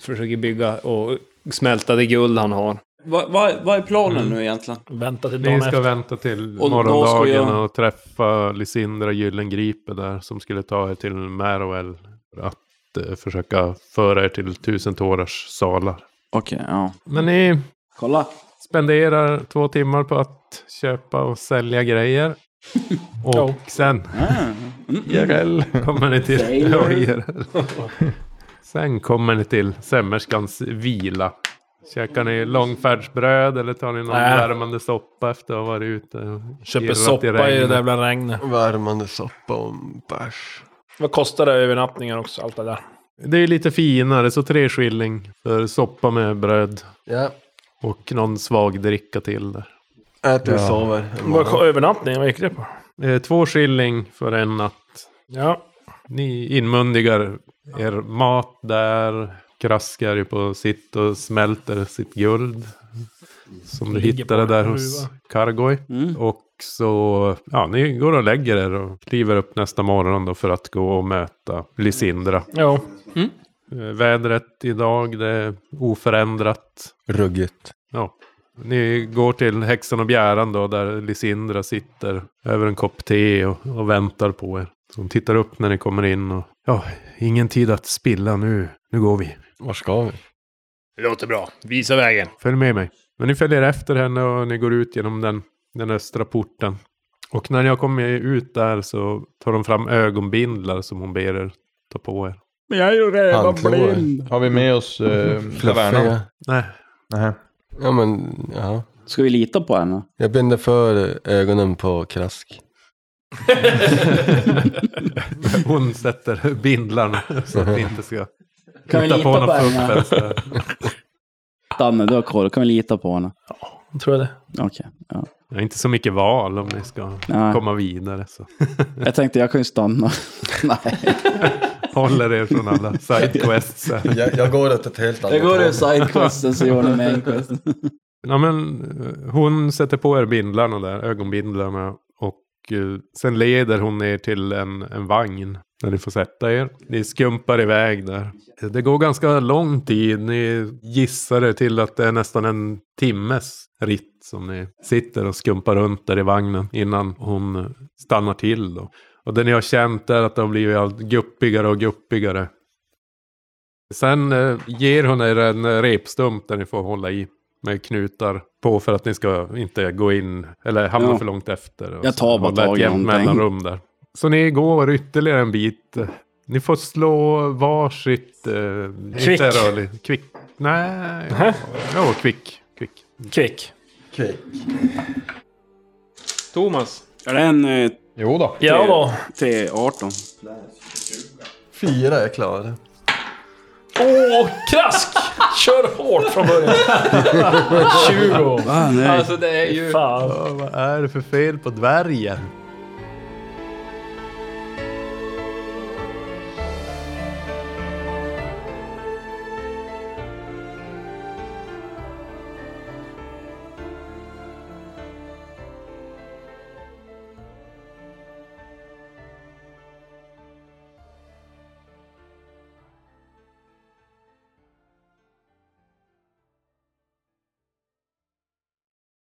Speaker 9: Försöker bygga och smälta det guld han har.
Speaker 6: Vad vad- vad är planen nu egentligen?
Speaker 4: Vänta till dagen
Speaker 3: Ni ska
Speaker 4: efter.
Speaker 3: vänta till
Speaker 6: Och då ska
Speaker 3: morgondagen
Speaker 6: jag-
Speaker 3: och träffa Lysindra Gyllengripe där som skulle ta er till Meroel. För att eh, försöka föra er till tusen tårars salar.
Speaker 6: Okej, ja.
Speaker 3: Men ni
Speaker 6: Kolla.
Speaker 3: spenderar två timmar på att köpa och sälja grejer. Och sen
Speaker 4: Ah.
Speaker 3: Mm.
Speaker 5: IRL.
Speaker 4: Mm.
Speaker 3: kommer ni till...
Speaker 6: Sailor.
Speaker 3: Ja, IRL. sen kommer ni till sömmerskans vila. Käkar ni långfärdsbröd eller tar ni någon
Speaker 4: Nej.
Speaker 3: värmande soppa efter att ha varit ute? och
Speaker 4: Äh. Köper
Speaker 3: irrat
Speaker 4: soppa i det
Speaker 3: regnet?
Speaker 4: där jävla regnet.
Speaker 7: Värmande soppa och bärs.
Speaker 4: Vad kostar det övernattningar också? Allt det där.
Speaker 3: Det är lite finare, så tre skilling för soppa med bröd
Speaker 7: Ja.
Speaker 3: och någon svag dricka till där.
Speaker 7: Äter och sover.
Speaker 4: Vad ko- övernattningar? Vad gick det på?
Speaker 3: Eh, Två skilling för en natt.
Speaker 4: Ja.
Speaker 3: Ni inmundigar er mat där, kraskar ju på sitt och smälter sitt guld. Som du
Speaker 4: Ligger
Speaker 3: hittade
Speaker 4: på
Speaker 3: där
Speaker 4: en
Speaker 3: hos
Speaker 4: gruva.
Speaker 3: Kargoj.
Speaker 6: Mm.
Speaker 3: Och så, ja, ni går och lägger er och kliver upp nästa morgon då för att gå och möta Lysindra.
Speaker 4: Jo.
Speaker 3: Eh, Vädret idag, det är oförändrat.
Speaker 7: Ruggigt.
Speaker 3: Ja. Ni går till häxan och bjäran då, där Lysindra sitter över en kopp te och, och väntar på er. Så hon tittar upp när ni kommer in och ja, ingen tid att spilla nu. Nu går vi.
Speaker 7: Var ska vi?
Speaker 8: Det låter bra. Visa vägen.
Speaker 3: Följ med mig. Men ni följer efter henne och ni går ut genom den, den östra porten. Och när ni har kommit ut där så tar de fram ögonbindlar som hon ber er ta på er.
Speaker 6: Men jag är ju redan
Speaker 7: Handklor.
Speaker 6: blind.
Speaker 5: Har vi med oss eh, tavernan?
Speaker 7: Fluffiga.
Speaker 3: Nej,
Speaker 5: Nej.
Speaker 7: Ja men, ja.
Speaker 6: Ska vi lita på henne?
Speaker 7: Jag binder för ögonen på Krask.
Speaker 3: hon sätter bindlarna så att ni inte ska
Speaker 6: Kan vi
Speaker 3: hitta
Speaker 6: lita på henne?
Speaker 3: fuffens där.
Speaker 6: Danne, du har koll. Kan vi lita på henne?
Speaker 4: Tror jag det.
Speaker 6: Okej. ja.
Speaker 3: Det är inte så mycket val om ni ska
Speaker 6: Nej.
Speaker 3: komma vidare. Så.
Speaker 6: Jag tänkte jag kan ju stanna. Nej.
Speaker 3: håller er från alla sidequests.
Speaker 10: Jag, jag går åt ett helt annat
Speaker 6: Jag går
Speaker 10: håll.
Speaker 6: ur sidequesten så gör ni mainquesten.
Speaker 3: Ja, men, eh, hon sätter på er bindlarna där, ögonbindlarna. Och eh, sen leder hon er till en, en vagn där ni får sätta er. Ni skumpar iväg där. Det går ganska lång tid. Ni gissar det till att det är nästan en timmes ritt som ni sitter och skumpar runt där i vagnen innan hon eh, stannar till. Då. Och det ni har känt är att det har blivit allt guppigare och guppigare. Sen eh, ger hon er en repstump där ni får hålla i med knutar på för att ni ska inte gå in eller hamna
Speaker 6: Ja.
Speaker 3: för långt efter. och
Speaker 6: Jag
Speaker 3: så
Speaker 6: tar bara
Speaker 3: hålla Alltså, ett
Speaker 6: tag i
Speaker 3: jämnt
Speaker 6: någonting.
Speaker 3: mellanrum där. Så ni går ytterligare en bit. Ni får slå varsitt... Eh,
Speaker 4: Kvick.
Speaker 3: inte rörligt. Kvick. Nej. Jo, kvick. Kvick.
Speaker 4: Kvick.
Speaker 10: Okej.
Speaker 9: Thomas.
Speaker 6: Är det en eh,
Speaker 5: Jo då.
Speaker 4: Ja, då.
Speaker 6: T18?
Speaker 10: Fyra är klara.
Speaker 4: Åh, krask! Kör hårt från början. 20.
Speaker 6: Va? Nej.
Speaker 9: Alltså det är ju...
Speaker 4: Fan.
Speaker 3: vad är det för fel på dvärgen?